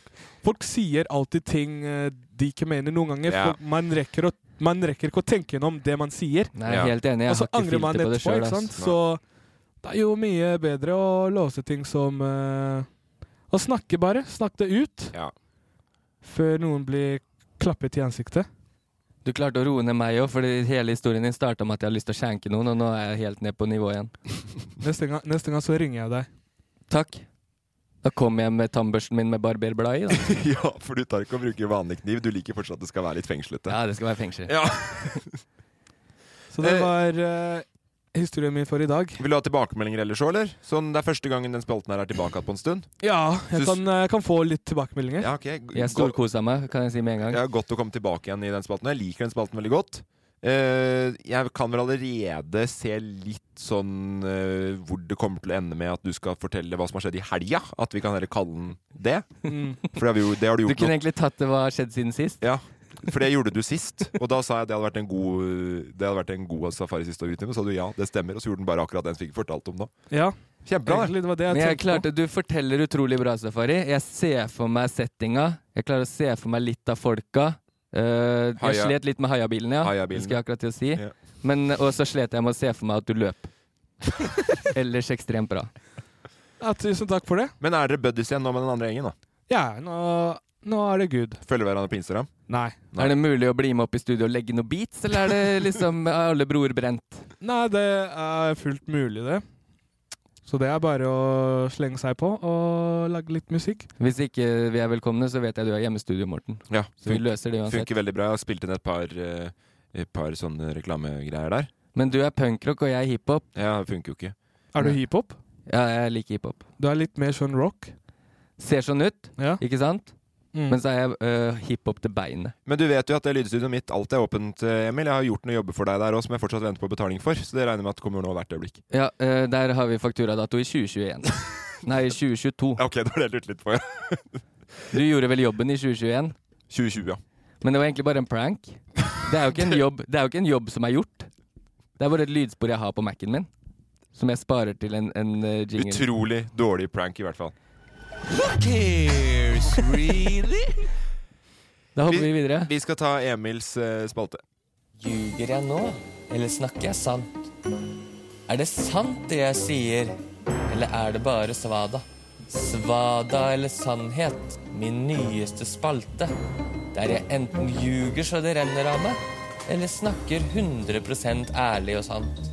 folk sier alltid ting eh, de ikke mener noen ganger. Ja. Folk, man, rekker å, man rekker ikke å tenke gjennom det man sier. Nei, jeg er Ja. helt enig. Jeg Og så har ikke angrer man filter på det etterpå, selv, ikke sant. ass. Så det er jo mye bedre å låse ting som eh, Å snakke, bare. Snakk det ut. Før noen blir klappet i ansiktet. Du klarte å roe ned meg òg, fordi hele historien din starta med at jeg har lyst til å skjenke noen, og nå er jeg helt ned på nivå igjen. Neste gang, neste gang så ringer jeg deg. Takk. Da kommer jeg med tannbørsten min med barberbladet i, da. ja, for du tar ikke og bruker vanlig kniv. Du liker fortsatt at det skal være litt fengslete. Ja, det skal være fengsel. Ja. Så det var eh, historien min for i dag. Vil du ha tilbakemeldinger ellers òg, eller? Sånn, det er første gangen den spalten her er tilbake igjen på en stund. Ja, jeg Så- kan, jeg kan få litt tilbakemeldinger. Ja, ok. Jeg storkosa meg, kan jeg si med en gang. Det er godt å komme tilbake igjen i den spalten. Jeg liker den spalten veldig godt. Eh, jeg kan vel allerede se litt sånn eh, hvor det kommer til å ende med at du skal fortelle hva som har skjedd i helga. At vi kan heller kalle den det. Mm. For det, har vi jo, det har du Du gjort kunne nå. egentlig tatt det hva har skjedd siden sist. Ja, for det gjorde du sist. Og da sa jeg at det hadde vært en god, det hadde vært en god safari siste år, og så sa du ja, det stemmer. Og så gjorde den bare akkurat den som fikk fortalt om nå. Ja. Kjempebra, det. Egentlig, det var det jeg Men jeg tenkte klarte, du forteller utrolig bra, Safari. Jeg ser for meg settinga. Jeg klarer å se for meg litt av folka. Eh, jeg Haia. slet litt med hajabilen, ja. Hajabilen. Det skal jeg akkurat til å si. Ja. Men, og så slet jeg med å se for meg at du løp. Ellers ekstremt bra. Ja, tusen takk for det. Men er dere buddies igjen nå med den andre gjengen, da? Ja, nå, nå er det good. Følger hverandre på Instagram? Nei. Er det mulig å bli med opp i studio og legge noen beats, eller er det liksom er alle broer brent? Nei, det er fullt mulig, det. Så det er bare å slenge seg på og lage litt musikk. Hvis ikke vi er velkomne, så vet jeg du er hjemmestudio, Morten. Ja, Så vi løser det uansett. Funker veldig bra. Jeg har spilt inn et par, eh, et par sånne reklamegreier der. Men du er punkrock, og jeg er hiphop. Ja, det funker jo ikke. Er du hiphop? Ja, jeg liker hiphop. Du er litt mer sånn rock? Ser sånn ut, ikke sant? Mm. Men så er jeg øh, hiphop til beinet. Men du vet jo at det lydstudioet mitt alltid er åpent, eh, Emil. Jeg har gjort noe jobber for deg der òg som jeg fortsatt venter på betaling for. Så det regner jeg med at kommer nå hvert øyeblikk. Ja, øh, der har vi fakturadato i 2021. Nei, i 2022. Ok, det var det jeg lurte litt på, ja. Du gjorde vel jobben i 2021? 2020, ja. Men det var egentlig bare en prank. Det er jo ikke en jobb, det er jo ikke en jobb som er gjort. Det er bare et lydspor jeg har på Mac-en min, som jeg sparer til en, en øh, jingle. Utrolig dårlig prank, i hvert fall. cares, really? Da hopper vi videre. Vi skal ta Emils eh, spalte. Ljuger jeg nå, eller snakker jeg sant? Er det sant det jeg sier, eller er det bare svada? Svada eller sannhet, min nyeste spalte. Der jeg enten ljuger så det renner av meg, eller snakker 100 ærlig og sant.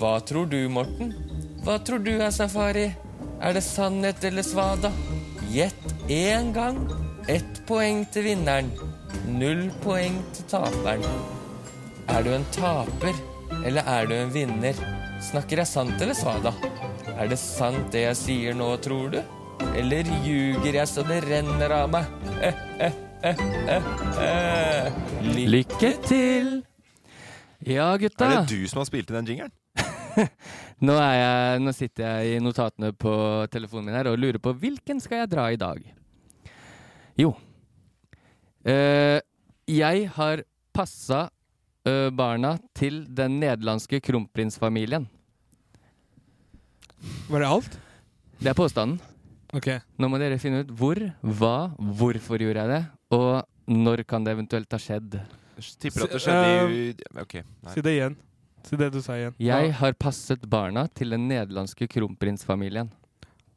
Hva tror du, Morten? Hva tror du er safari? Er det sannhet eller svada? Gjett én gang. Ett poeng til vinneren. Null poeng til taperen. Er du en taper, eller er du en vinner? Snakker jeg sant eller svada? Er det sant det jeg sier nå, tror du? Eller ljuger jeg så det renner av meg? Eh, eh, eh, eh, eh. Lykke til! Ja, gutta. Er det du som har spilt inn den jingeren? Nå, er jeg, nå sitter jeg i notatene på telefonen min her og lurer på hvilken skal jeg dra i dag. Jo. Eh, jeg har passa eh, barna til den nederlandske kronprinsfamilien. Var det alt? Det er påstanden. Ok. Nå må dere finne ut hvor, hva, hvorfor gjorde jeg det, og når kan det eventuelt ha skjedd. Tipper at det skjedde i eh, Ok. Nei. Si det igjen. Si det du sa igjen. Jeg har passet barna til den nederlandske kronprinsfamilien.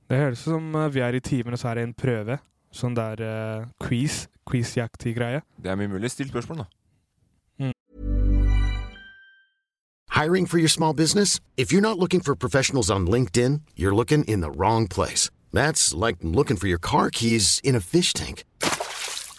Det høres ut som eh, vi er i timen, og så er det en prøve. Sånn der eh, quiz. Quiz-jakt-greie. Det er mye mulig. Still spørsmål, da. Hiring for your small business? If you're not looking for professionals on LinkedIn, you're looking in the wrong place. That's like looking for your car keys in a fish tank.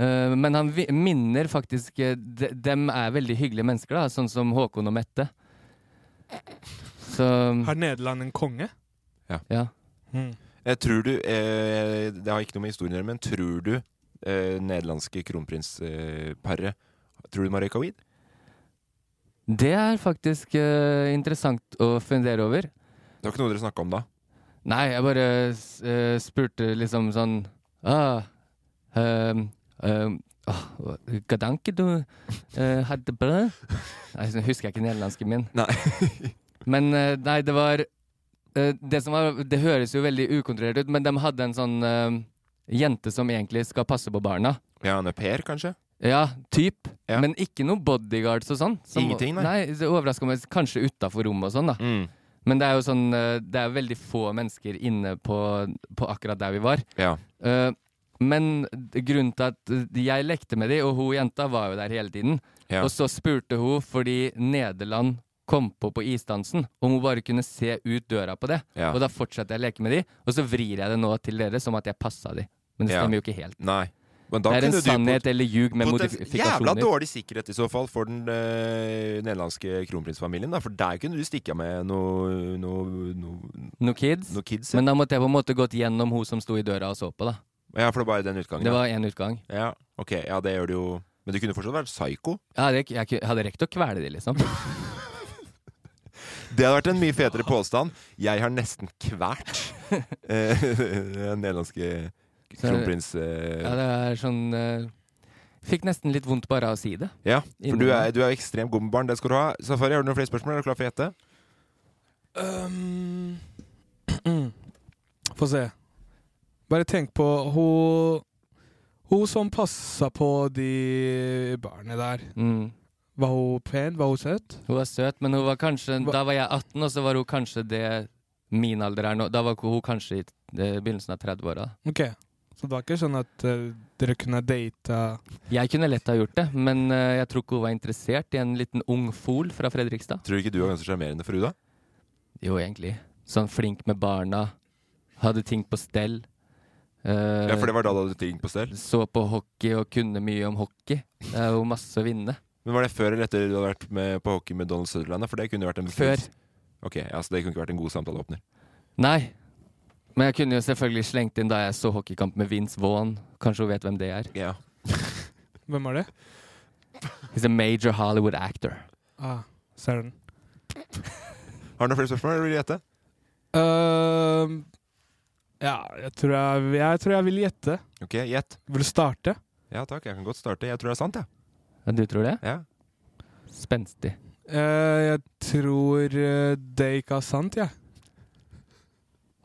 Eh, men han vi minner faktisk eh, de, Dem er veldig hyggelige mennesker, da. Sånn som Håkon og Mette. Så Har Nederland en konge? Ja. ja. Jeg tror du eh, Det har ikke noe med historien å gjøre, men tror du eh, nederlandske kronprinsparet eh, paret- Tror du de har røyka weed? Det er faktisk eh, interessant å fundere over. Det var ikke noe dere snakka om da? Nei, jeg bare eh, spurte liksom sånn ah, um, um, ah, Gadanke, du eh, hadde bra? Nei, så husker jeg ikke nederlandsken min. men eh, nei, det var eh, det, som var det høres jo veldig ukontrollert ut, men de hadde en sånn eh, jente som egentlig skal passe på barna. Ja, en au pair, kanskje? Ja, typ. Men ikke noe bodyguards og sånn. Som- Ingenting, nei. nei det overrasker meg kanskje utafor rommet og sånn, da. Men det er jo sånn eh, Det er veldig få mennesker inne på, på akkurat der vi var. Ja. Eh, men grunnen til at eh, jeg lekte med de, og hun jenta var jo der hele tiden Ja. Og så spurte hun, fordi Nederland kom på på isdansen, om hun bare kunne se ut døra på det. Ja. Og da fortsetter jeg å leke med de, og så vrir jeg det nå til dere som at jeg passa de. Men det Ja. stemmer jo ikke helt. Nei. Men da det er en kunne du pot- sannhet eller ljug med potens- modifikasjoner. Jævla dårlig sikkerhet i så fall for den eh, nederlandske kronprinsfamilien, da, for der kunne du stikke av med noe noe- noe- Noen kids. noe kids. Men da måtte jeg på en måte gått gjennom hun som sto i døra og så på, da. Ja, for det var bare den utgangen. Det da. var én utgang. Ja, ok, ja, det gjør det jo Men du kunne fortsatt vært psyko. Jeg hadde, ikke- jeg ku- hadde rekt å kvele de, liksom. Det hadde vært en mye fetere påstand. Jeg har nesten kvært eh, den nederlandske Så- kronprins... Ja, Eh, det er sånn eh, Fikk nesten litt vondt bare av å si det. ja, for du er, du er ekstremt god med barn. Det skal du ha. Safari, har du noen flere spørsmål? Er du klar for å gjette? Um, Få se. Bare tenk på hun Hun som passa på de barna der. Var hun pen? Var hun søt? Mm. Hun var søt, men hun var kanskje da var jeg 18, og så var hun kanskje det min alder er nå. Da var hun kanskje i eh, begynnelsen av 30-åra. Ok, så det var ikke sånn at eh, dere kunne data Jeg kunne lett ha gjort det, men eh, jeg tror ikke hun var interessert i en liten ung fol fra Fredrikstad. Tror du ikke du var ganske sjarmerende for henne, da? Jo, egentlig. Sånn flink med barna. Hadde ting på stell. Eh, Ja, for det var da du hadde ting på stell? Så på hockey og kunne mye om hockey. Det er jo masse å vinne. Men Var det før eller etter du hadde vært med på hockey med Donald Sutherland? da? For det kunne jo vært en Før. Ok, ja, Så det kunne ikke vært en god samtaleåpner. Nei. Men jeg kunne jo selvfølgelig slengt inn da jeg så hockeykamp med Vince Vaughn. Kanskje hun vet hvem det er? Ja. Hvem var det? He's a major Hollywood actor. Ah, ser den. Har du noen flere spørsmål? Eller vil du gjette? Øhm, Ehm, ja, jeg tror jeg, jeg tror jeg vil gjette. Ok, gjett. Vil du starte? Ja takk, jeg kan godt starte. Jeg tror det er sant, jeg. Ja, du tror det? Ja. Spenstig. Eh, jeg tror eh, det ikke er sant, jeg.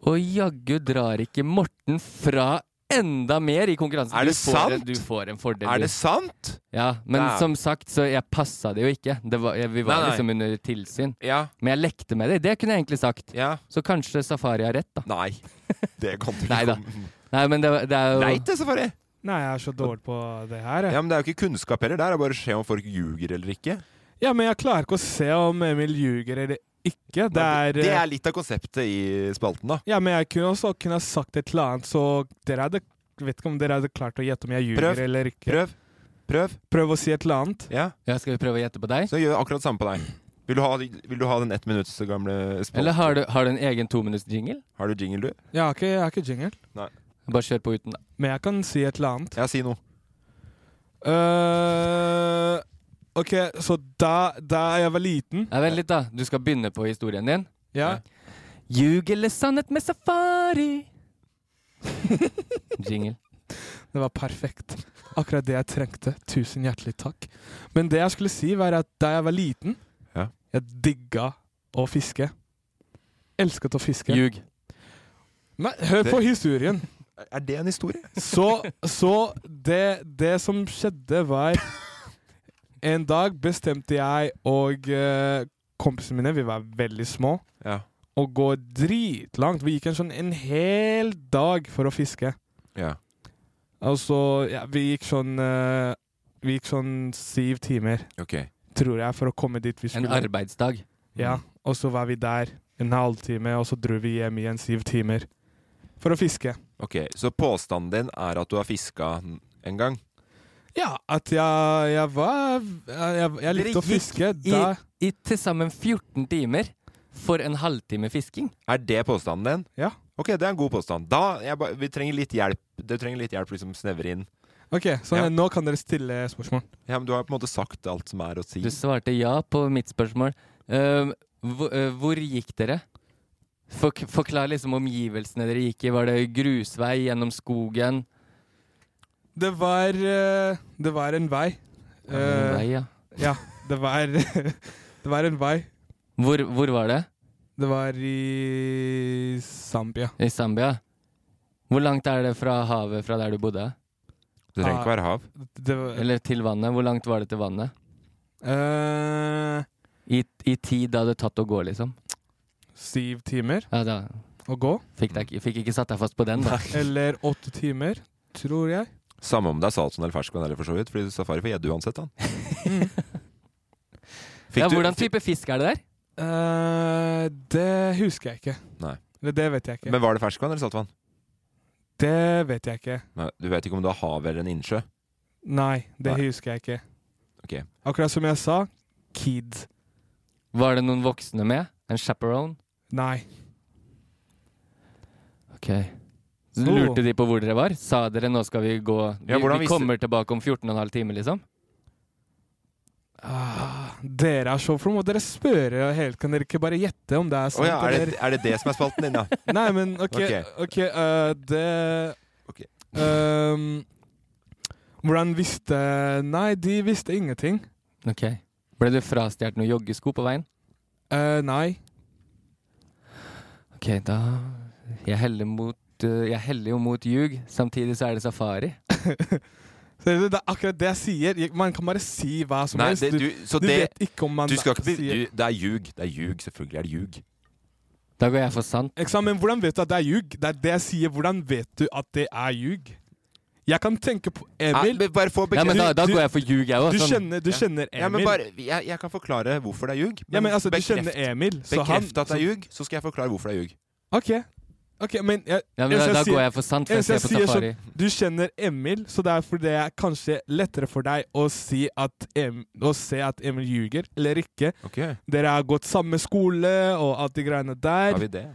Og jaggu drar ikke Morten fra enda mer i konkurransen. Er det Du får en- sant? Du får en fordel. Er du. det sant? Ja, men Nei. som sagt, så jeg passa det jo ikke. Det var, jeg, vi var Nei, nei. liksom under tilsyn. Ja. Men jeg lekte med det. Det kunne jeg egentlig sagt. Ja. Så kanskje Safari har rett, da. Nei. Det kan du ikke Nei da. komme- Nei, men det, det er jo Nei til Safari! Nei, jeg er så dårlig på det her. Ja, Jeg. Men det er jo ikke kunnskap heller. Det er bare å se om folk ljuger eller ikke. Ja, men jeg klarer ikke å se om Emil ljuger eller ikke. Det er, Det eh, er litt av konseptet i spalten, da. Ja, men jeg kunne også kunne ha sagt et eller annet, så dere hadde vet ikke om dere hadde klart å gjette om jeg ljuger Prøv. eller ikke. Prøv. Prøv. Prøv å si et eller annet. Ja. Skal vi prøve å gjette på deg? Så gjør jeg akkurat samme på deg. Vil du ha, vil du ha den ett minutts gamle spalten? Eller har du, har du en egen tominutts-jingle? Har du jingle, du? Jeg har ikke, jeg har ikke jingle, Nei. Bare kjør på uten, da. men jeg kan si et eller annet. Ja, si noe. Eh, ok, så da, da jeg var liten Nei, Vent litt, da. Du skal begynne på historien din. Ja. Ljug eller sannhet med safari? Jingle. Det var perfekt. Akkurat det jeg trengte. Tusen hjertelig takk. Men det jeg skulle si, var at da jeg var liten, Ja. jeg digga å fiske. Elsket å fiske. Ljug. Nei, hør på Det- historien. Er det en historie? Så, så det, det som skjedde var En dag bestemte jeg og eh, kompisene mine, vi var veldig små, Ja. å gå dritlangt. Vi gikk en sånn en hel dag for å fiske. Ja. Altså, ja, vi gikk sånn eh, Vi gikk sånn syv timer, Ok. tror jeg, for å komme dit vi En skulle. arbeidsdag. Ja, og så var vi der en halvtime, og så dro vi hjem igjen syv timer for å fiske. Ok, Så påstanden din er at du har fiska en gang? Ja, at jeg, jeg var Jeg, jeg- jeg likte å fiske. i, Da, i til sammen 14 timer for en halvtime fisking. Er det påstanden din? Ja. Ok, det er en god påstand. Da, jeg ba, vi trenger litt hjelp. Du trenger litt hjelp, liksom snevre inn. ok, så Ja. nå kan dere stille spørsmål. Ja, men du har på en måte sagt alt som er å si. Du svarte ja på mitt spørsmål. Eh, hvor, eh, hvor gikk dere? Fork forklar liksom omgivelsene dere gikk i. Var det grusvei gjennom skogen? Det var eh, Det var en vei. var en vei, ja. ja. Det var Det var en vei. Hvor, hvor var det? Det var i Zambia. I Zambia? Hvor langt er det fra havet fra der du bodde? Det Ah. trenger ikke være hav. Det var, Eller til vannet? Hvor langt var det til vannet? eh, I, i tid det hadde tatt å gå, liksom? syv timer Ja, da. å gå. Fikk, deg, ikke- fikk ikke satt deg fast på den, da. Eller åtte timer, tror jeg. Samme om det er Salton eller ferskvann eller for så vidt, fordi safari får gjedde uansett, han. Fikk Ja, du- hvordan type fisk er det der? Eh, det husker jeg ikke. Nei. Eller det vet jeg ikke. Men var det ferskvann eller saltvann? det vet jeg ikke. Nei, du vet ikke om det er hav eller en innsjø? Nei, det Nei. husker jeg ikke. Ok. Akkurat som jeg sa, kid. Var det noen voksne med? En chaperone? Nei. Ok. Så Lurte de på hvor dere var? Sa dere 'nå skal vi gå Vi, Ja, hvordan vi visste- kommer tilbake om 14,5 timer', liksom? Ah, Dere er så for må dere spørre helt. Kan dere ikke bare gjette om det er Å sant? ja, er det, eller- er det det som er spalten din, da? Nei, men OK. Ok. ok, eh, det Ok. Ehm, Hvordan visste Nei, de visste ingenting. Ok. Ble du frastjålet noen joggesko på veien? Eh, nei. Ok, da Jeg heller mot eh, jeg heller jo mot ljug, samtidig så er det safari. Så det er akkurat det jeg sier. Man kan bare si hva som Nei, helst. det, du, så du det, vet ikke om man du skal ikke, bli- sier du, Det er ljug. Det er ljug. Selvfølgelig er det ljug. Da går jeg for sant. Ikke sant? Men hvordan vet du at det er ljug? Det er det jeg sier. Hvordan vet du at det er ljug? Jeg kan tenke på Emil. Nei, Ah, men bare få Du- bekreft- du- ljug, jeg Sånn- Du kjenner, du kjenner Emil. Ja, men bare, jeg, jeg kan forklare hvorfor det er ljug. Ja, men altså, du bekreft- kjenner Emil, så han- Bekreft at det er ljug, så skal jeg forklare hvorfor det er ljug. Ok. Ok, men jeg, Ja, men eneste da- da sier- går jeg for sant, for jeg eneste ser på sier Safari. du kjenner Emil, så derfor det er kanskje lettere for deg å, si at Em- å se at Emil ljuger, eller ikke. Ok. Dere har gått samme skole og alt de greiene der. Har vi det?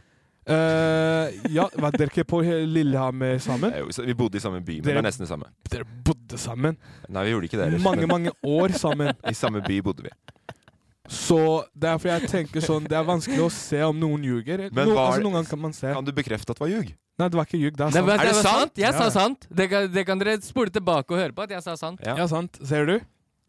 Eh, ja, var dere ikke på Lillehammer sammen? Det er jo- så Vi bodde i samme by, men Dere- det er nesten det samme. Dere bodde sammen. Nei, vi gjorde ikke det ellers, Mange, men- mange år sammen. I samme by bodde vi. Så derfor jeg tenker sånn, det er vanskelig å se om noen ljuger. Men no, var- altså, noen ganger kan man se. Kan du bekrefte at det var ljug? Nei, det var ikke ljug. Det er Det, sant. var- det var sant? Jeg sa sant. Det kan, det kan dere spole tilbake og høre på at jeg sa sant. Ja. Ja, sant. Ser du?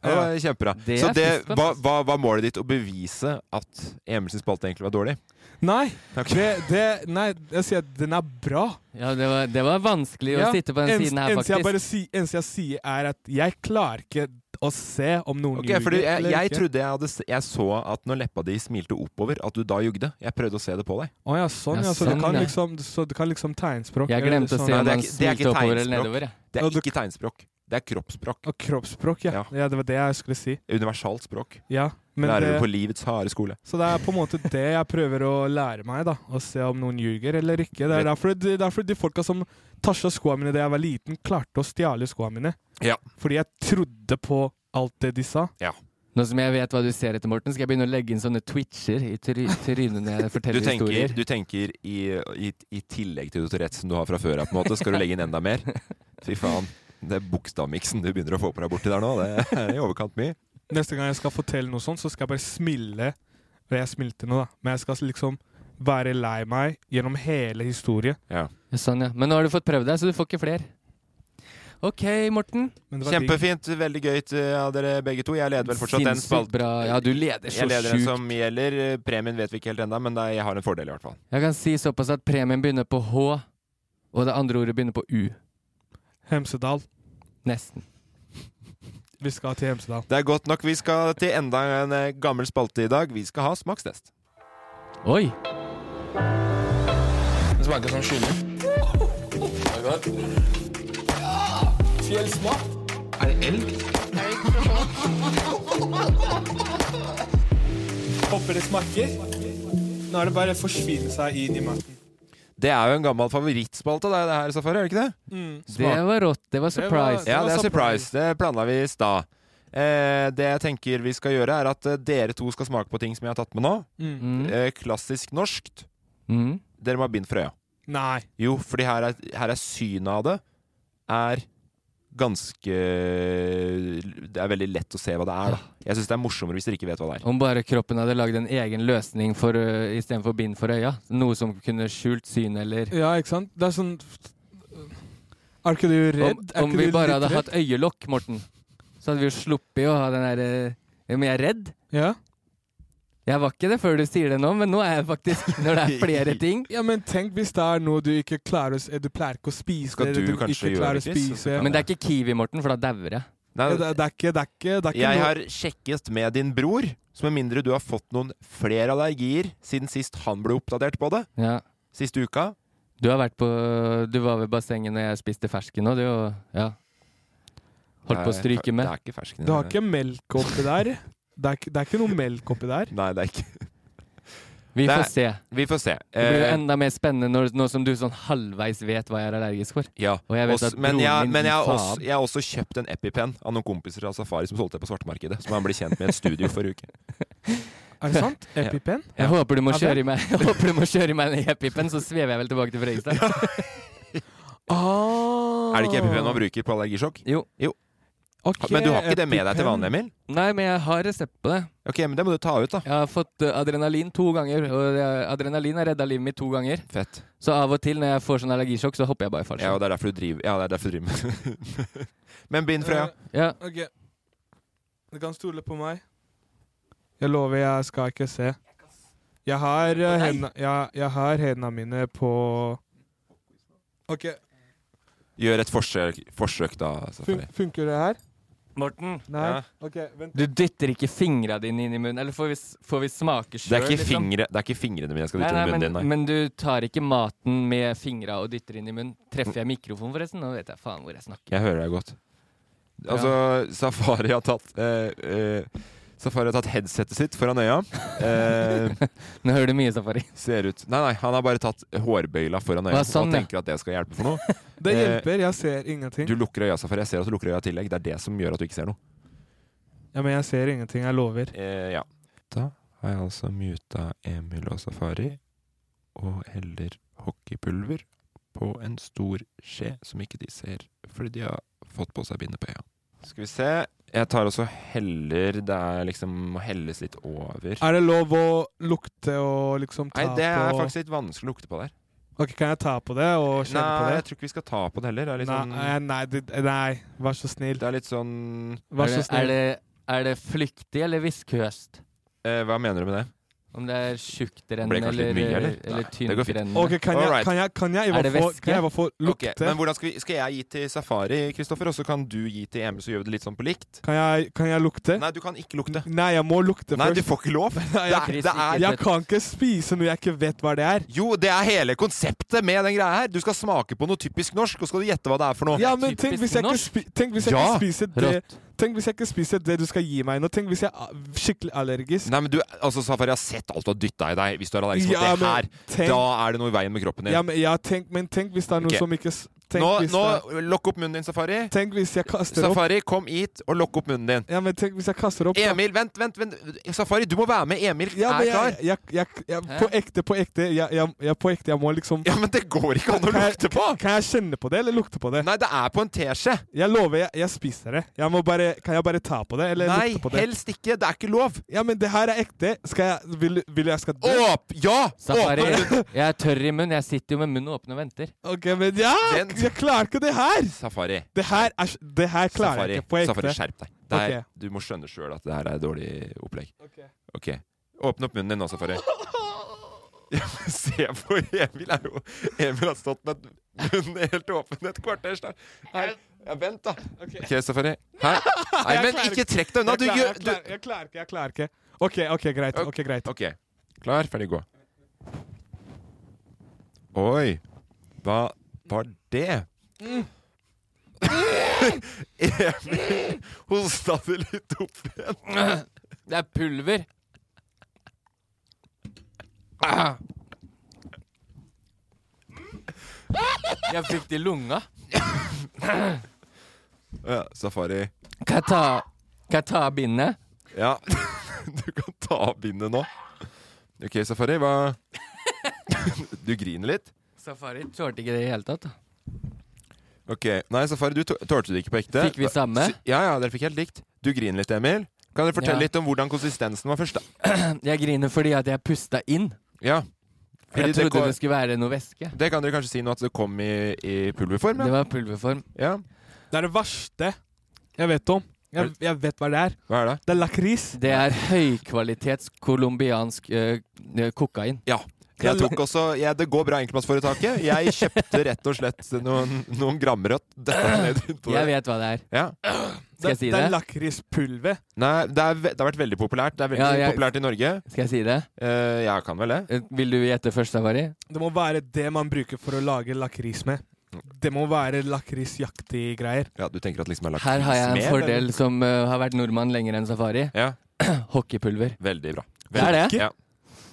Det var kjempebra. Det så er det, friskt, hva, hva var målet ditt? Å bevise at Emil sin spalte egentlig var dårlig? Nei, det, det, nei, jeg sier at den er bra. Ja, det var, det var vanskelig å Ja, sitte på den ens- siden her, eneste Jeg bare faktisk. si, eneste jeg sier, er at jeg klarer ikke å se om noen Ok, fordi ljuger. jeg, eller jeg ikke. trodde jeg, hadde, se- jeg så at når leppa di smilte oppover, at du da jugde. Jeg prøvde å se det på deg. Å ja, sånn, ja. Så, Ja, sånn, du kan ja. liksom, så du kan liksom tegnspråk. Jeg eller glemte å sånn. se om det, er, han ikke- det er smilte ikke oppover eller tegnspråk. nedover. jeg. Det er ikke tegnspråk. Det er kroppsspråk. Og kroppsspråk, ja. ja. Det var det jeg skulle si. Universalt språk. Ja, men Lærer det- du på livets harde skole. Så det er på en måte det jeg prøver å lære meg, da. Å se om noen ljuger eller ikke. Det er derfor, det er derfor de folka som tasja skoa mine da jeg var liten, klarte å stjele skoa mine. Ja. Fordi jeg trodde på alt det de sa. Nå som jeg vet hva du ser etter, Morten, skal jeg begynne å legge inn sånne twitcher i try trynet når jeg Du forteller tenker, historier. du tenker i, i, i tillegg til Tourettes som du har fra før av, på en måte, skal du legge inn enda mer? Fy faen. Det er bokstavmiksen du begynner å få på deg borti der nå. Det er i overkant mye. Neste gang jeg skal fortelle noe sånt, så skal jeg bare smile. Og jeg smilte nå, da. Men jeg skal liksom være lei meg gjennom hele historien. Ja. Ja, Sånn, ja. Men nå har du fått prøvd deg, så du får ikke flere. OK, Morten. Kjempefint. Veldig gøy til ja, dere begge to. Jeg leder vel fortsatt den Sinnssykt spalten. bra. Ja, du leder så Jeg leder den sjukt. som gjelder. Premien vet vi ikke helt ennå, men det er, jeg har en fordel i hvert fall. Jeg kan si såpass at premien begynner på H, og det andre ordet begynner på U. Hemsedal. Nesten. Vi skal til Hemsedal. Det er godt nok. Vi skal til enda en eh, gammel spalte i dag. Vi skal ha smakstest. Oi! Den smaker som kylling. Fjellsmak. Er det elg? Håper det smaker. Nå er det bare å forsvinne seg inn i maten. Det er jo en gammel favorittspalte, det, er det her, Safari, er det ikke det? Mm. Smak- Det var rått. Det var surprise. ja, det er surprise. Det planla vi i stad. Eh, det jeg tenker vi skal gjøre, er at eh, dere to skal smake på ting som jeg har tatt med nå. Mm. Eh, klassisk norskt. Mm. Dere må ha bind for øya. Nei. Jo, fordi her er, her er synet av det er ganske Det er veldig lett å se hva det er, da. Jeg syns det er morsommere hvis dere ikke vet hva det er. Om bare kroppen hadde lagd en egen løsning for, ø, istedenfor bind for øya. Noe som kunne skjult syn eller Ja, ikke sant? Det er sånn Er ikke du Om, redd? Er om ikke vi du bare litt hadde redd? hatt øyelokk, Morten, så hadde vi jo sluppet å ha den derre Men jeg er redd. Ja. Jeg var ikke det før du sier det nå, men nå er jeg faktisk Når det er flere ting. Ja, men tenk hvis det er noe du ikke klarer å s- Du pleier ikke å spise Skal eller du ikke kanskje gjøre klarer å det, Chris? Så spise. kan Men det er ikke kiwi, Morten, for da dauer jeg. Nei, Ja, det, det er ikke Det er ikke, det er ikke Jeg noe- har sjekket med din bror, så med mindre du har fått noen flere allergier siden sist han ble oppdatert på det, Ja. siste uka Du har vært på Du var ved bassenget når jeg spiste fersken, og du og Ja. Holdt på å Nei, stryke med. Det er ikke fersken. Du har ikke melk oppi der? Det er, ikke- det er ikke noe melk oppi der? Nei, det er ikke Vi Det er- får se. Vi får se. Det blir jo Eh, enda mer spennende når, nå som du sånn halvveis vet hva jeg er allergisk for. ja. Og jeg vet Også- at men broren jeg, min, men jeg, har faen. også, jeg har også kjøpt en EpiPen av noen kompiser av Safari som solgte det på svartemarkedet. Som han ble kjent med i et studio forrige uke. Er det sant? Ja. EpiPen? Jeg håper du må Er det? kjøre i meg Jeg håper du må kjøre i meg den epipen, så svever jeg vel tilbake til Fredrikstad. Ah. Er det ikke EpiPen man bruker på allergisjokk? Jo. Ok, men du har ikke det med deg til EpiPen. vanlig, Emil? Nei, men jeg har resept på det. Ok, men det må du ta ut, da. Jeg har fått eh, adrenalin to ganger, og eh, adrenalin har redda livet mitt to ganger. Fett. Så av og til når jeg får sånn allergisjokk, så hopper jeg bare i Ja, og fallskjerm. det er derfor du driver Ja, det er derfor du driver med Men bind Frøya. Ja. Eh, Ok. Du kan stole på meg. Jeg lover, jeg skal ikke se. Jeg har eh, hendene jeg, jeg har hendene mine på OK. Gjør et forsøk, forsøk da, Safari. Fun funker det her? Morten? Nei? Ja. Ok, vent. Du dytter ikke fingra dine inn i munnen. Eller får vi, s- får vi smake Det er, sjøl? ikke liksom. fingre, det er ikke fingrene mine jeg skal Nei, dytte nei, inn i munnen men, din. Nei. men du tar ikke maten med fingra og dytter inn i munnen. Treffer jeg mikrofonen, forresten? Nå vet jeg faen hvor jeg snakker. Jeg hører deg godt. Altså, Safari har tatt eh, eh, Safari har tatt headsetet sitt foran øya. Eh, Nå hører du mye, Safari. Ser ut Nei, nei, han har bare tatt hårbøyla foran øya Hva, sånn, og ja. tenker at det skal hjelpe for noe. Det Eh, hjelper. Jeg ser ingenting. Du lukker øya, Safari. Jeg ser at du lukker øya i tillegg. Det er det som gjør at du ikke ser noe. Ja, Men jeg ser ingenting. Jeg lover. Eh, ja. Da har jeg altså muta Emil og Safari og heller hockeypulver på en stor skje som ikke de ser, fordi de har fått på seg bindet på øya. Skal vi se. Jeg tar også heller Det er liksom må helles litt over. Er det lov å lukte og liksom ta Nei, det er på faktisk litt vanskelig å lukte på der. Ok, Kan jeg ta på det og kjenne Nei, på det? jeg tror ikke vi skal ta på det heller. Det er litt Nei, sånn eh, nei, det- nei, vær så snill. Det er litt sånn Vær så snill. Er det, er det flyktig eller viskøst? eh, Hva mener du med det? Om det er tjukktrennende Ble det kanskje eller, litt mye, eller, eller? eller Nei, det går fint. tynntrennende. Ok, kan jeg, Alright. kan jeg, kan jeg, i Er hvert det fall- væske? kan jeg i hvert fall Ok, lukte? men hvordan skal, vi, skal jeg gi til Safari, Kristoffer, og så kan du gi til Emil, så gjør vi det litt sånn på likt? kan, jeg, kan jeg lukte? Nei, du kan ikke lukte. Nei, jeg må lukte Nei, først. du får ikke lov! Det jeg- er, det er, Jeg kan ikke spise noe jeg ikke vet hva det er. jo, det er hele konseptet med den greia her. Du skal smake på noe typisk norsk, og skal du gjette hva det er for noe. Ja, men tenk hvis jeg ikke, spi tenk hvis jeg Ja, ikke spiser det Tenk hvis jeg ikke spiser det du skal gi meg nå. Tenk hvis jeg er skikkelig allergisk. Nei, men du, altså Safari jeg har sett alt du har dytta i deg hvis du er allergisk mot Ja, det her. men tenk- Da er det noe i veien med kroppen din. Ja, men, ja, tenk, men tenk hvis det er noe Ok. som ikke s- tenk nå, hvis nå det er- lokk opp munnen din, Safari. Tenk hvis jeg kaster opp. Safari, kom hit og lokk opp munnen din. Ja, men tenk hvis jeg kaster opp. da. Emil, vent, vent, vent. Safari, du må være med. Emil Ja, men er klar. jeg, jeg, jeg, jeg, på ekte, på ekte. Jeg, jeg, jeg, på ekte, jeg må liksom Ja, men det går ikke an å lukte på! Kan jeg kjenne på det, eller lukte på det? Nei, det er på en teskje. Jeg lover, jeg, jeg spiser det. Jeg må bare, kan jeg bare ta på det, eller Nei, lukte på det? helst ikke. Det er ikke lov. Ja, men det her er ekte. Skal jeg, vil, vil jeg skal dø? Åp! Ja! Safari, Åpne munnen! jeg er tørr i munnen. Jeg sitter jo med munnen åpen og venter. Ok, men ja! Den- Jeg klarer ikke det her! Safari. Det her, er, det her klarer Safari, jeg ikke på ekte. Safari, skjerp deg. Det er, Ok. Du må skjønne sjøl at det her er et dårlig opplegg. Ok. Åpne opp munnen din nå, Safari. Ja, men Se på Emil! Er jo, Emil har stått med munnen helt åpen et kvarter snart. Her. Ja, vent, da. OK, Safari. Her. Nei, Jeg men klarer ikke trekk deg unna! Jeg Du klarer- gjør jeg du, klarer, jeg klarer ikke, jeg klarer ikke. Ok, ok, greit. ok, greit. Ok, klar, ferdig, gå. Oi, hva var det? Emil hosta det litt opp igjen. Det er pulver. Jeg fikk det i lunga. Ja, safari. Kan jeg ta, kan jeg ta av bindet? Ja, du kan ta av bindet nå. Ok, Safari, hva Du griner litt? Safari tålte ikke det i det hele tatt. da. Ok, Nei, Safari, du tå- tålte det ikke på ekte. Fikk vi samme? S- Ja, ja, dere fikk helt likt. Du griner litt, Emil. Kan dere fortelle Ja. litt om hvordan konsistensen var først? da? Jeg griner fordi at jeg pusta inn. Ja. Fordi Jeg det trodde går- det skulle være noe væske. Det kan dere kanskje si nå at det kom i, i pulverform? Det Ja. var pulverform. ja. Det er det verste jeg vet om. Jeg, jeg vet hva det er. Hva er det? Det er lakris. Det er høykvalitets colombiansk øh, øh, kokain. Ja. Jeg tok også, ja, Det går bra i enkeltmannsforetaket. Jeg kjøpte rett og slett noen, noen gramrødt. Dette ned på Jeg det. vet hva det er. Ja. Skal jeg si Det det? er lakrispulver. Nei, det, er, ve- det har vært veldig populært. Det er veldig Ja, jeg- populært i Norge. Skal jeg si det? Eh, jeg kan vel det. Eh, Vil du gjette først, Safari? Det må være det man bruker for å lage lakris med. Mm. Det må være lakrisjaktige greier. Ja, Du tenker at liksom jeg har lagt Her har jeg en smel, fordel eller? som øh, har vært nordmann lenger enn Safari. Ja, Hockeypulver. Veldig bra. Det er det. Ja.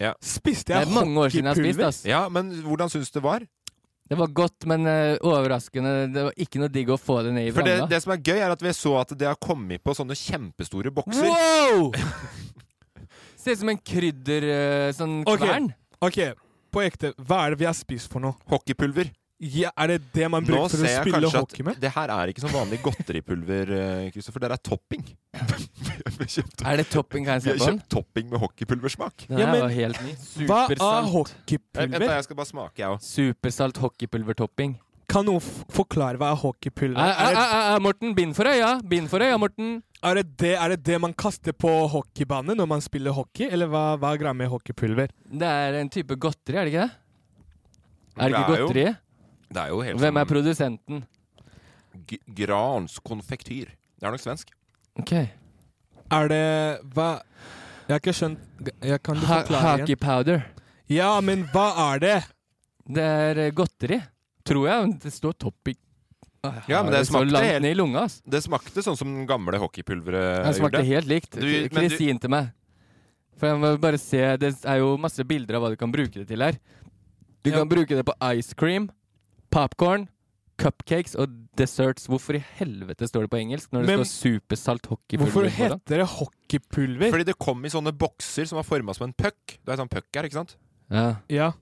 Ja. Spiste Det jeg er mange år siden jeg har spist. hockeypulver? ass. ja, men hvordan syns du det var? Det var godt, men øh, overraskende. Det var ikke noe digg å få det ned i For det, vranga. det som er gøy, er at vi så at det har kommet på sånne kjempestore bokser. Wow! Ser ut som en krydder... øh, sånn Ok. kvern. Ok, på ekte, hva er det vi har spist for noe? Hockeypulver. Ja, er det det man Nå bruker for ser å jeg spille kanskje hockey at med? det her er ikke sånn vanlig godteripulver, eh, Kristoffer. Det er topping. vi har kjøpt, Er det topping? Kan jeg vi se har på den? kjøpt topping med hockeypulversmak. Eh, Den Ja, her men- var helt ny. Hva Supersalt. er Vent, da, hockeypulver? jeg skal bare smake, jeg òg. Supersalt hockeypulvertopping. Ah, Kan noen f- forklare hva er Æ, hockeypulver æ, er? æ, æ, æ, Morten, bind for øya! Bind for øya, Morten! Er det, det, er det det man kaster på hockeybanen når man spiller hockey? Eller hva, hva er greia med hockeypulver? Det er en type godteri, er det ikke det? Er det ikke Det er jo- godteri? Det er jo helt Hvem er sånn- produsenten? G Grans konfektyr. Det er nok svensk. Ok. Er det Hva Jeg har ikke skjønt jeg, Kan du Ha- forklare Hockey powder. Ja, men hva er det? Det er eh, godteri. Tror jeg. men Det står Topic. Ah, Åh, jeg Ja, har men det så smakte, langt helt- ned i lunga, ass. det smakte sånn som den gamle hockeypulveret Det smakte gjorde. helt likt. Du- men du- Kristin til meg. For jeg må bare se Det er jo masse bilder av hva du kan bruke det til her. Du kan bruke det på ice cream, popcorn, cupcakes og desserts. Hvorfor i helvete står det på engelsk når det Men- står supersalt hockeypulver? på Hvorfor det? heter det hockeypulver? Fordi det kom i sånne bokser som var forma som en puck. Du er sånn puck her, ikke sant? Ja. Ja.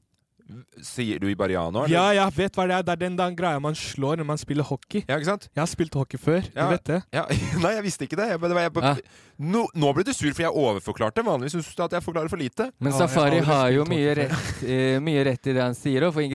Sier du ibariano? ja, jeg vet hva det er. Det er den der greia man slår når man spiller hockey. Ja, ikke sant? Jeg har spilt hockey før. Du Ja, vet det. Ja, nei, jeg visste ikke det. Jeg, bare- det var- jeg, bare- nå, nå ble du sur, for jeg overforklarte. Vanligvis syns du at jeg forklarer for lite. Men Ja, jeg Safari aldri har jo spilt mye hockey før. rett, eh, mye rett i det han sier. Og for ingen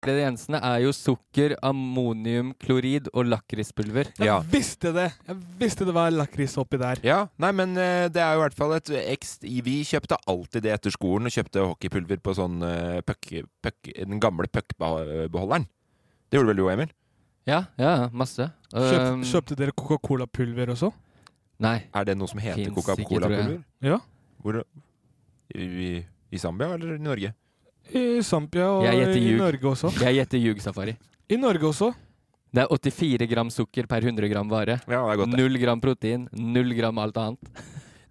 ingrediensene er jo sukker, ammonium, klorid og lakrispulver. Ja. Visste det! Jeg visste det var lakris oppi der. Ja, nei, men eh, det er jo i hvert fall et ekst... Vi kjøpte alltid det etter skolen, og kjøpte hockeypulver på sånn eh, puck, puck, den gamle puckbeholderen. Det gjorde vel du òg, Emil? Ja, ja, ja, masse. Kjøpte, Um, kjøpte dere Coca-Cola-pulver også? Nei. Er det noe som heter Finnes ikke, Coca-Cola-pulver? tror Ja. Hvor, i, I Zambia eller i Norge? I Zampia og Jeg gjetter i ljug. Norge også. Jeg gjetter ljug, Safari. I Norge også. Det er 84 gram sukker per 100 gram vare. Ja, det er godt, det. Null gram protein, null gram alt annet.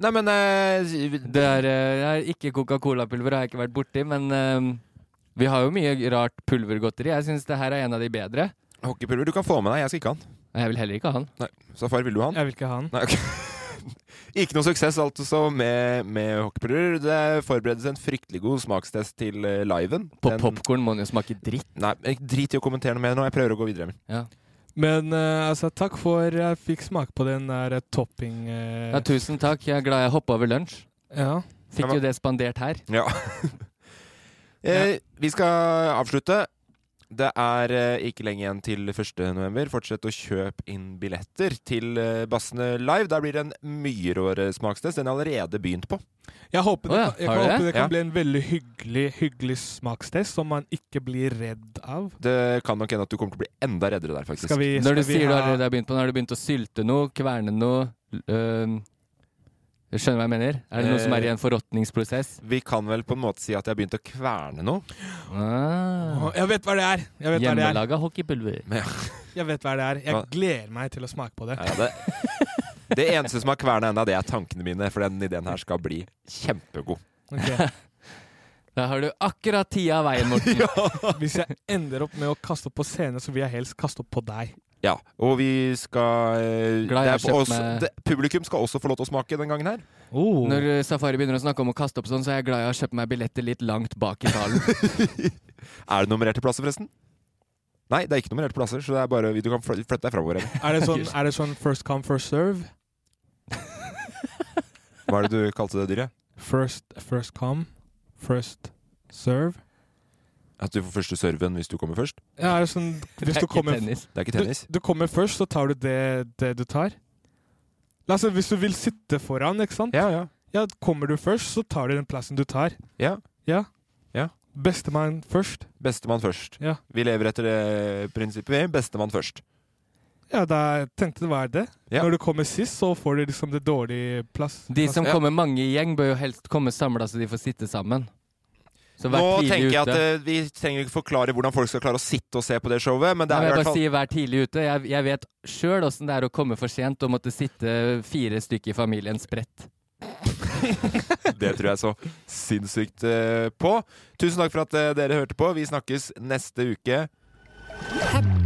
Nei, men Det er, eh, det er ikke Coca-Cola-pulver, har jeg ikke vært borti, men eh, vi har jo mye rart pulvergodteri. Jeg syns det her er en av de bedre. Hockeypulver du kan få med deg, jeg skal ikke ha den. Jeg vil heller ikke ha den. Nei. Safari, vil du ha den? Jeg vil ikke ha den. Nei, ok. Ikke noe suksess altså med, med hockeypulver. Det forberedes en fryktelig god smakstest til eh, liven. På popkorn må den jo smake dritt. Nei, jeg drit i å kommentere noe mer nå. Jeg prøver å gå videre. Emil. Men eh, altså, takk for jeg fikk smake på den der eh, topping... eh, Ja, tusen takk. Jeg er glad jeg hoppa over lunsj. Ja. Fikk jo det spandert her. Ja. eh, vi skal avslutte. Det er eh, ikke lenge igjen til 1. november. Fortsett å kjøpe inn billetter til eh, Bassene live. Der blir det en mye råere smakstest. Den er allerede begynt på. Jeg håper det, Å ja, kan- jeg har kan, du håper det? det kan Ja. bli en veldig hyggelig, hyggelig smakstest som man ikke blir redd av. Det kan nok hende at du kommer til å bli enda reddere der, faktisk. Skal vi- Når du skal vi sier du ha- allerede har begynt på den, har du begynt å sylte noe, kverne noe l- øhm, Jeg skjønner hva jeg mener? Er det noe som er Eh. i en forråtningsprosess? Vi kan vel på en måte si at jeg har begynt å kverne noe. Å, Jeg vet hva det er! Jeg vet hva det er. Ah. Hjemmelaga hockeypulver. Ja. Jeg vet hva det er. Jeg Hva? gleder meg til å smake på det. Ja, det, det eneste som har kverna ennå, det er tankene mine, for den ideen her skal bli kjempegod. Ok. Da har du akkurat tida av veien, Morten. Hvis jeg ender opp med å kaste opp på scenen, så vil jeg helst kaste opp på deg. Ja, og vi skal eh, Glad jeg det er har kjøpt også, meg- det, Publikum skal også få lov til å smake den gangen her. Oh. Når eh, Safari begynner å snakke om å kaste opp sånn, så er jeg glad jeg har kjøpt meg billetter litt langt bak i salen. Er det nummererte plasser, forresten? Nei, det er ikke nummererte plasser, så det er bare du kan fly- flytte deg framover. Emil. Er det sånn, er det sånn first come, first serve? Hva er det du kalte det dyret? First, first come, first serve? At du får første serven hvis du kommer først? Ja, er det sånn Det hvis er du ikke kommer, tennis. Det er ikke tennis. Du, du kommer først, så tar du det, det du tar. La oss si hvis du vil sitte foran, ikke sant? Ja, ja. kommer du først, så tar du den plassen du tar. Ja. Ja. Ja. Bestemann først. Bestemann først. Ja. Vi lever etter det prinsippet, vi. Bestemann først. Ja, da tenkte jeg hva er det? Ja. Når du kommer sist, så får du liksom det dårlige plass. De som plass. kommer mange i gjeng, bør jo helst komme samla så de får sitte sammen. Så Nå vær tidlig tenker jeg at ute. eh, Vi trenger ikke forklare hvordan folk skal klare å sitte og se på det showet, men det Nei, er men jeg i hvert bare fall sier vær tidlig ute. Jeg, jeg vet sjøl åssen det er å komme for sent og måtte sitte fire stykker i familien spredt. Det tror jeg så sinnssykt eh, på. Tusen takk for at eh, dere hørte på. Vi snakkes neste uke.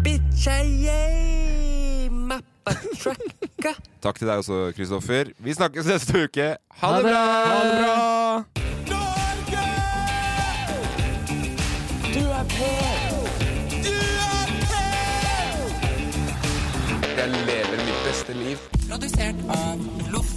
Bitcha, yay! Mappa trucka. Takk til deg også, Kristoffer. Vi snakkes neste uke. Ha Ha det det. bra! Ha det bra! Du er på! Du er på! Jeg lever mitt beste liv. Produsert av Loff.